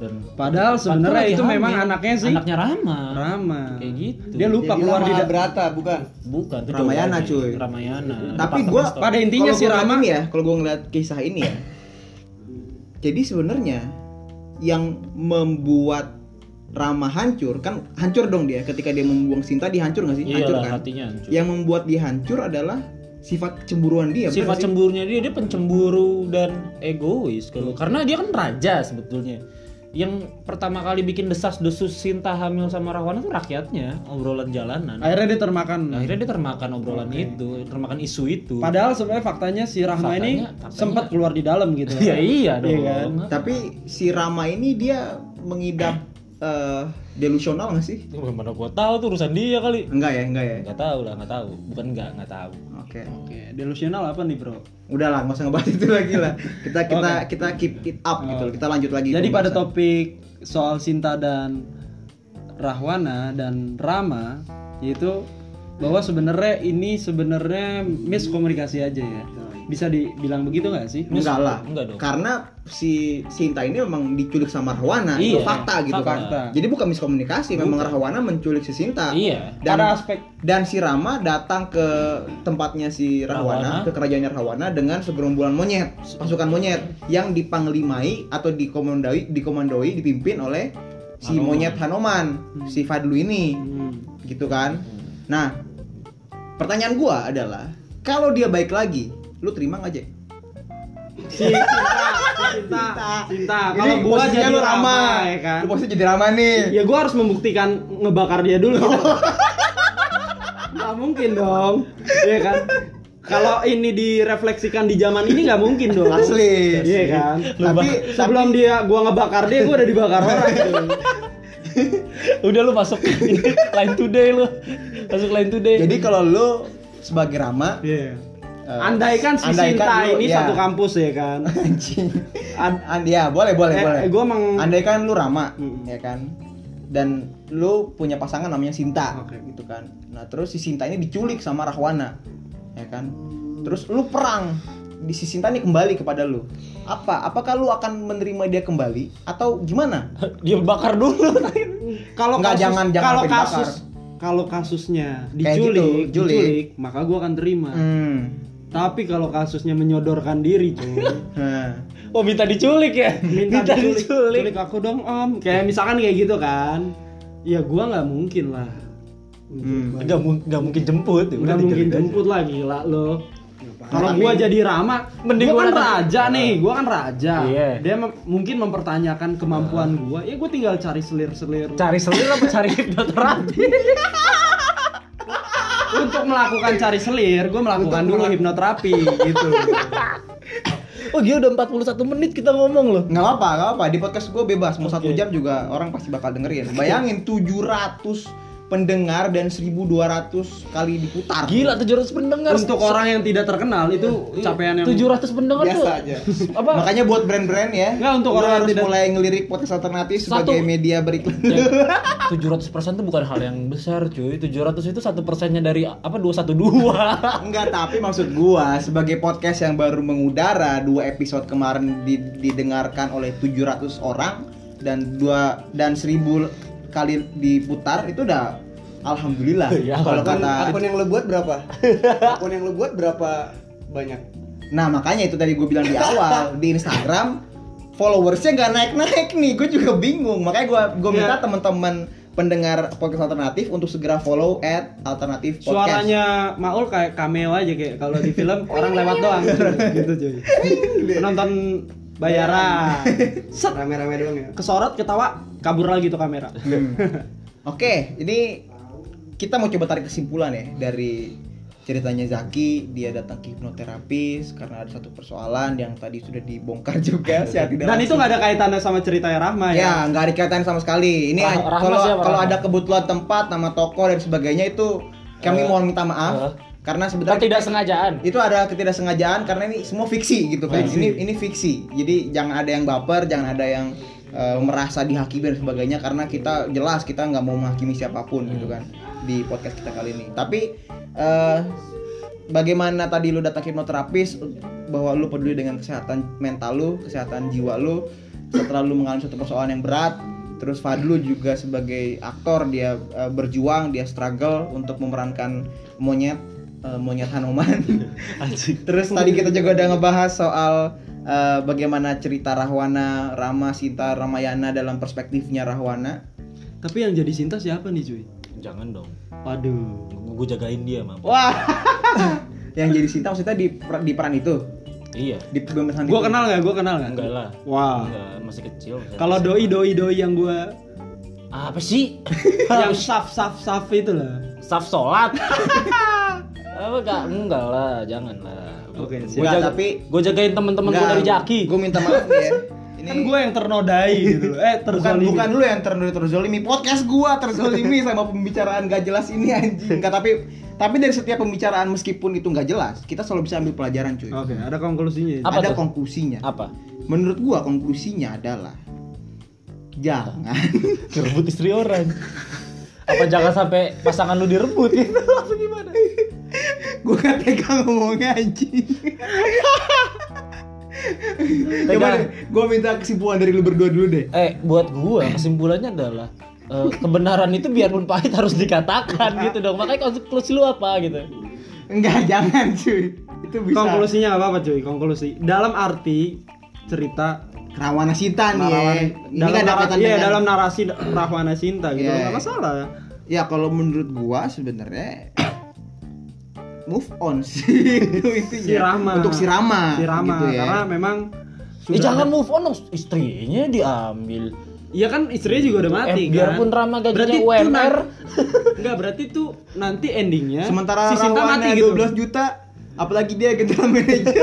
D: Dan
C: Padahal sebenarnya
D: Padahal
C: itu
D: lagi
C: memang
D: hamil.
C: anaknya sih
D: Anaknya Rama.
C: Rama.
D: Kayak gitu.
C: Dia lupa keluar di da-
G: berata bukan
D: Bukan tuh
B: Ramayana,
D: jauh lagi.
B: cuy.
D: Ramayana.
B: tapi
D: Departemen
B: gue
D: store.
C: Pada intinya si Rama-
B: ya kalau gue ngeliat kisah ini ya jadi sebenarnya yang membuat Rama hancur kan hancur dong dia ketika dia membuang Sinta dihancur nggak sih hancur
D: Iyalah,
B: kan
D: hatinya hancur.
B: yang membuat dia hancur adalah sifat cemburuan dia iya, bener
D: sifat
B: sih?
C: Iya.
D: cemburunya dia dia pencemburu dan egois kalau karena dia kan raja sebetulnya
A: yang pertama kali bikin desas desus Sinta hamil sama Rahwana tuh rakyatnya obrolan jalanan
C: akhirnya dia termakan
A: akhirnya dia termakan obrolan itu termakan isu itu
C: padahal sebenarnya faktanya si Rahma
A: Faktanya-
C: ini
A: faktanya-
C: sempat keluar di dalam gitu
A: ya iya dong
C: kan?
B: Tapi si Rama ini dia mengidap eh, delusional nggak sih?
A: Itu mana gua tahu tuh urusan dia kali
B: Enggak ya, enggak ya.
A: nggak tahu lah nggak tahu bukan nggak nggak tahu
B: Oke.
C: oke delusional apa nih bro
B: Udahlah, nggak usah ngebahas itu lagi lah. Kita kita kita keep it up gitu loh. Kita lanjut lagi.
C: Jadi pada
B: pembahasan.
C: topik soal Sinta dan Rahwana dan Rama yaitu bahwa sebenarnya ini sebenarnya miskomunikasi aja ya. Bisa dibilang begitu nggak sih?
B: enggak lah.
A: Enggak dong.
B: Karena si Sinta ini memang diculik sama Rahwana, itu
A: Iya,
B: fakta gitu kan.
C: fakta.
B: Jadi bukan miskomunikasi, memang Rahwana menculik si Sinta.
A: iya
B: Dan
C: Pada aspek
B: dan si Rama datang ke tempatnya si Rahwana,
A: Rahwana.
B: ke kerajaannya Rahwana dengan segerombolan monyet, pasukan monyet yang dipanglimai atau dikomandoi, dikomandoi, dipimpin oleh si
A: Hanoman.
B: monyet Hanoman, si Fadlu ini,
C: hmm,
B: gitu kan. Nah, pertanyaan gua adalah, kalau dia baik lagi, lu terima nggak Jack?
C: Sinta, Sinta.
B: Ini
C: Kalau gua
B: posisinya
C: jadi
B: lu Rama,
C: Rama ya kan.
B: Lu posisinya jadi Rama nih.
C: Ya gua harus membuktikan ngebakar dia dulu.
B: Oh.
C: Gak mungkin dong, ya kan? Kalau ini direfleksikan di zaman ini nggak mungkin dong.
B: Asli.
C: Iya kan?
B: Tapi
C: Sebelum dia gua ngebakar dia, gua udah dibakar orang. gitu.
A: udah lu masuk ini line today lu masuk line today
B: jadi kalau lu sebagai Rama,
C: Iya.
B: eh,
C: Andaikan si
B: andaikan
C: Sinta
B: lu,
C: ini
B: ya.
C: satu kampus ya kan.
B: anjing.
C: An-
B: An- ya boleh boleh
C: eh,
B: boleh.
C: Gue emang
B: Andai kan lu Rama,
C: Mm-mm.
B: ya kan, dan lu punya pasangan namanya Sinta,
C: Oke.
B: gitu kan. Nah terus si Sinta ini diculik sama Rahwana, ya kan. Terus lu perang, di si Sinta ini kembali kepada lu. Apa? Apakah lu akan menerima dia kembali atau gimana?
A: dia bakar dulu
C: kalau
B: Nggak,
C: kasus
B: jangan- jangan
C: kalau
B: sampai dibakar.
C: kasus kalau
B: Kayak
C: kasusnya
B: gitu,
C: diculik,
B: julik.
C: diculik, maka gue akan terima.
B: Hmm.
C: Tapi kalau kasusnya menyodorkan diri, cuy.
A: Hmm.
B: Nah.
A: oh minta diculik ya
C: minta diculik, culik aku dong om kayak misalkan kayak gitu kan ya gua nggak mungkin lah
B: Hmm.
A: nggak mu- nggak mungkin jemput ya udah
C: nggak mungkin
A: diculik aja. Ya,
C: jemput lah gila lo kalau gua jadi Rama
A: Mending
C: gua kan
A: gua-
C: raja nih gua kan raja
A: Iya.
C: dia mem- mungkin mempertanyakan kemampuan gua ya gua tinggal cari selir-selir
A: cari selir apa cari hipnoterapi
C: untuk melakukan cari selir gua melakukan dulu hipnoterapi gitu
A: oh dia udah 41 menit kita ngomong loh
B: Nggak apa-apa, nggak apa-apa. Di podcast gue bebas. Mau satu jam juga orang pasti bakal dengerin. Bayangin 700 pendengar dan 1200 kali diputar.
A: gila 700 pendengar
C: untuk orang yang tidak terkenal itu
A: Iya.
C: capaian yang
A: 700 pendengar tuh
B: Biasa aja.
A: apa
B: Makanya buat brand-brand ya.
C: Nggak, untuk
B: lu
C: orang yang
B: harus
C: tidak-
B: mulai ngelirik podcast alternatif
A: Satu.
B: sebagai media beriklan.
A: tujuh ratus persen itu bukan hal yang besar cuy 700 itu satu persennya dari apa dua satu dua
B: Enggak, tapi maksud gua sebagai podcast yang baru mengudara, dua episode kemarin di- didengarkan oleh 700 orang dan dua dan 1000 kali diputar itu udah alhamdulillah. Kalau kata
E: akun yang lo buat berapa? akun yang lo buat berapa banyak?
B: Nah, makanya itu tadi gue bilang di awal di Instagram followersnya nggak naik-naik nih. Gue juga bingung. Makanya gue gue
E: Ya.
B: minta
C: Iya.
B: teman-teman pendengar podcast alternatif untuk segera follow at alternatif podcast.
C: suaranya Maul kayak cameo aja kayak kalau di film orang lewat doang gitu cuy penonton bayaran set
E: Rame-rame doang ya.
C: kesorot ketawa kabur lagi tuh kamera
B: Hmm. Oke, ini kita mau coba tarik kesimpulan ya dari ceritanya Zaki dia datang ke hipnoterapis karena ada satu persoalan yang tadi sudah dibongkar juga secara tidak
C: dan itu
B: langsung.
C: nggak ada kaitannya sama ceritanya Rahma ya
B: Ya, nggak ada kaitan sama sekali. Ini
A: Rah- Rahma
B: kalau
A: siapa,
B: kalau
A: Rahma?
B: ada kebutuhan tempat, nama toko dan sebagainya itu kami
A: Eh,
B: mohon minta
A: eh.
B: maaf karena
A: kita
B: sebenarnya
A: tidak sengajaan
B: itu ada ketidaksengajaan karena ini semua fiksi gitu kan. Ini ini fiksi. Jadi jangan ada yang baper, jangan ada yang eh, merasa dihakimi dan sebagainya karena kita jelas kita nggak mau menghakimi siapapun gitu kan di podcast kita kali ini. Tapi eh, bagaimana tadi lu datang ke hipnoterapis bahwa lu peduli dengan kesehatan mental lu, kesehatan jiwa lu setelah lu mengalami suatu persoalan yang berat terus Fadlu juga sebagai aktor dia eh, berjuang dia struggle untuk memerankan monyet eh, monyet Hanoman terus tadi kita juga udah ngebahas soal eh, bagaimana cerita Rahwana Rama Sinta Ramayana dalam perspektifnya Rahwana
C: tapi yang jadi Sinta siapa nih cuy
A: jangan dong
C: waduh
A: gue jagain dia mampu
C: wah
B: yang jadi Sinta maksudnya di per- di peran itu
D: Iya.
B: Di pembebasan
C: Gue kenal nggak? Gue kenal nggak?
D: Enggak lah.
C: Wah.
D: Enggak, masih kecil. masih-
C: Ah. Kalau doi doi doi yang gue
D: apa sih?
C: yang saf saf saf itu lah.
D: Saf sholat. apa enggak? Enggak lah, jangan lah.
C: Oke,
D: Gue
B: Enggak,
D: jaga,
B: tapi-
D: gue jagain temen-temen gue dari jaki.
B: Gue minta maaf nih ya. Ini
C: Kan gue yang ternodai gitu. loh. Eh
B: bukan
C: terzolimi.
B: bukan lu yang ter- terzolimi. Podcast gua terzolimi sama pembicaraan gak jelas ini anjing. Enggak tapi tapi dari setiap pembicaraan meskipun itu nggak jelas, kita selalu bisa ambil pelajaran cuy.
C: Oke, ada konklusinya.
D: Apa
B: Ada
D: tuh?
B: konklusinya.
D: Apa?
B: Menurut gua konklusinya adalah jangan
D: Ngerebut istri orang. apa jangan sampai pasangan lu direbut gitu? Langsung gimana?
B: gua gak tega ngomongnya anjing. Coba
D: Tega.
B: deh, gua minta kesimpulan dari lu berdua dulu deh.
D: Eh, buat gua kesimpulannya adalah eh, kebenaran itu biarpun pahit harus dikatakan gitu dong. Makanya konklusi lu apa gitu?
B: Enggak, jangan cuy. Itu bisa.
C: Konklusinya apa apa cuy? Konklusi dalam arti cerita
B: Rawana Sita nih ya.
C: Rahwana-
B: Ini
C: dalam
B: gak ada
C: narasi,
B: kaitan
C: iya,
B: dengan-
C: dalam narasi da- Rahwana Sinta gitu
B: Iya,
C: loh,
B: iya.
C: nggak masalah.
B: Ya kalau menurut gua sebenarnya move on sih itu intinya.
C: Si Rahma.
B: Untuk si Rama.
C: Si Rama
B: gitu ya.
C: karena memang
D: Eh,
C: sudah
D: jangan
C: ada-
D: move on dong, istrinya diambil.
C: Iya kan istrinya juga udah mati
D: Eh, biarpun
C: kan.
D: Rama gajinya
C: Berarti itu
D: UMR.
C: nan- Enggak, berarti tuh nanti endingnya
B: sementara
C: ya, si Sinta
B: Rahwana
C: mati gitu.
B: 12 juta apalagi dia general manager.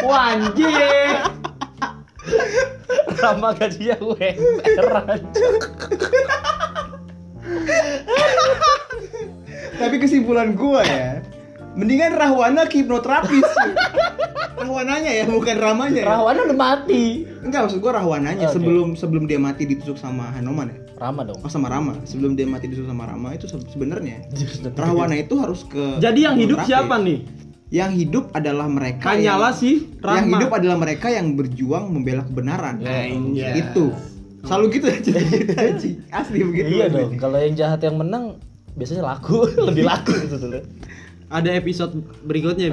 C: Wah, anjir.
D: Rama gajinya UMR aja.
B: Tapi kesimpulan gua ya Mendingan Rahwana kihipnoterapis cuy. Rahwananya ya bukan Ramanya ya.
D: Rahwana udah mati.
B: Enggak maksud gua Rahwananya
D: Oke.
B: sebelum sebelum dia mati ditusuk sama Hanoman ya.
D: Rama dong.
B: Oh sama Rama, sebelum dia mati ditusuk sama Rama itu se- sebenarnya Rahwana itu harus ke
C: Jadi yang hidup
B: hipnoterapis.
C: siapa nih?
B: Yang hidup adalah mereka
C: Hanyalah
B: yang-
C: si
B: Yang
C: Rahma.
B: hidup adalah mereka yang berjuang membela kebenaran.
D: Nah, iya.
C: Anjay.
B: Itu. Selalu gitu aja cerita, Ci. Asli
C: gitu
B: begitu.
D: iya
C: kan
B: Asli.
D: dong. Kalau yang jahat yang menang biasanya laku, lebih laku sebetulnya.
C: Ada episode berikutnya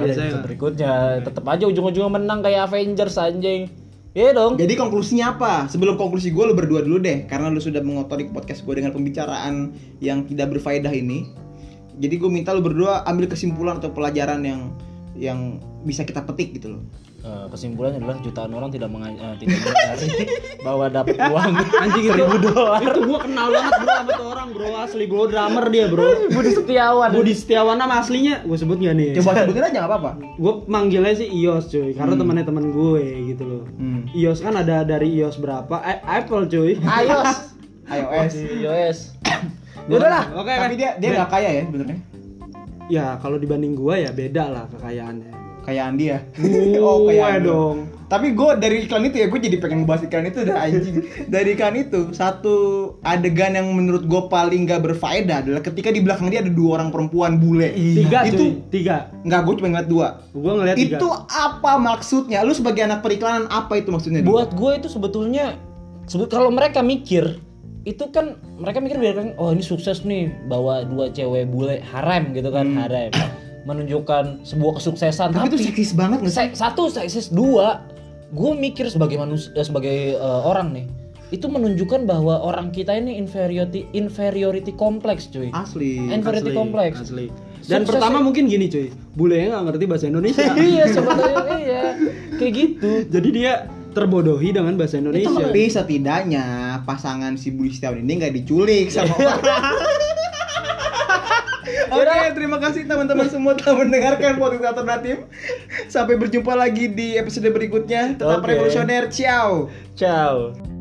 D: Ada
C: Iya, biasanya.
D: episode berikutnya tetap aja ujung-ujungnya menang kayak Avengers anjing. Iya dong.
B: Jadi konklusinya apa? Sebelum konklusi gue lu berdua dulu deh Karena lu sudah mengotori podcast gue dengan pembicaraan yang tidak berfaedah ini Jadi gue minta lu berdua ambil kesimpulan atau pelajaran yang yang bisa kita petik gitu loh
D: Eh, kesimpulannya adalah jutaan orang tidak menga- eh, tidak menyadari bahwa dapat uang
C: Anjing itu Itu gua kenal banget bro sama tuh orang bro asli bro drummer dia bro.
D: Budi Setiawan.
C: Budi Setiawan nama aslinya gue sebut gak nih?
B: Coba Ya, Hmm. sebutin aja gak apa-apa
C: Gue manggilnya sih Ios cuy, karena temannya teman gue gitu loh.
B: Hmm.
C: Ios kan ada dari Ios berapa? A- Apple cuy.
D: Ayos.
B: iOS
D: Ayos.
C: Ya
D: Udah lah.
C: Oke
B: Tapi
C: kan?
B: dia dia gak kaya ya sebenarnya
C: Ya kalau dibanding gue ya beda lah kekayaannya.
B: Kayaan dia
C: Gue
B: Oh, lu.
C: dong.
B: Tapi gue dari iklan itu ya, gue jadi pengen ngebahas iklan itu dah anjing. Dari iklan itu, satu adegan yang menurut gue paling gak berfaedah adalah ketika di belakang dia ada dua orang perempuan bule.
C: Tiga
B: Iya,
C: cuy,
B: Itu,
C: tiga.
B: nggak gue cuma ngeliat dua.
C: Gue ngeliat tiga.
B: Itu apa maksudnya? Lu sebagai anak periklanan, apa itu maksudnya? Di?
D: Buat gue itu sebetulnya sebut kalau mereka mikir itu kan mereka mikir biarkan oh ini sukses nih bawa dua cewek bule harem gitu kan harem menunjukkan sebuah kesuksesan
B: Hmm. Tapi
D: tapi,
B: itu seksis banget nggak sih?
D: se- satu seksis dua gue mikir sebagai manusia sebagai eh, orang nih itu menunjukkan bahwa orang kita ini inferiority inferiority kompleks cuy
B: Asli.
D: inferiority kompleks
C: asli. Dan
D: Sukses
C: pertama
D: ya.
C: mungkin gini cuy, bule nggak ngerti bahasa Indonesia.
D: iya sebetulnya iya kayak gitu
C: Jadi dia terbodohi dengan bahasa Indonesia.
B: Tapi setidaknya pasangan si Budi Setiawan ini nggak diculik sama orang. Oke, terima kasih teman-teman semua telah mendengarkan podcast alternatif. Sampai berjumpa lagi di episode berikutnya. Tetap
D: Oke.
B: revolusioner, ciao.
D: ciao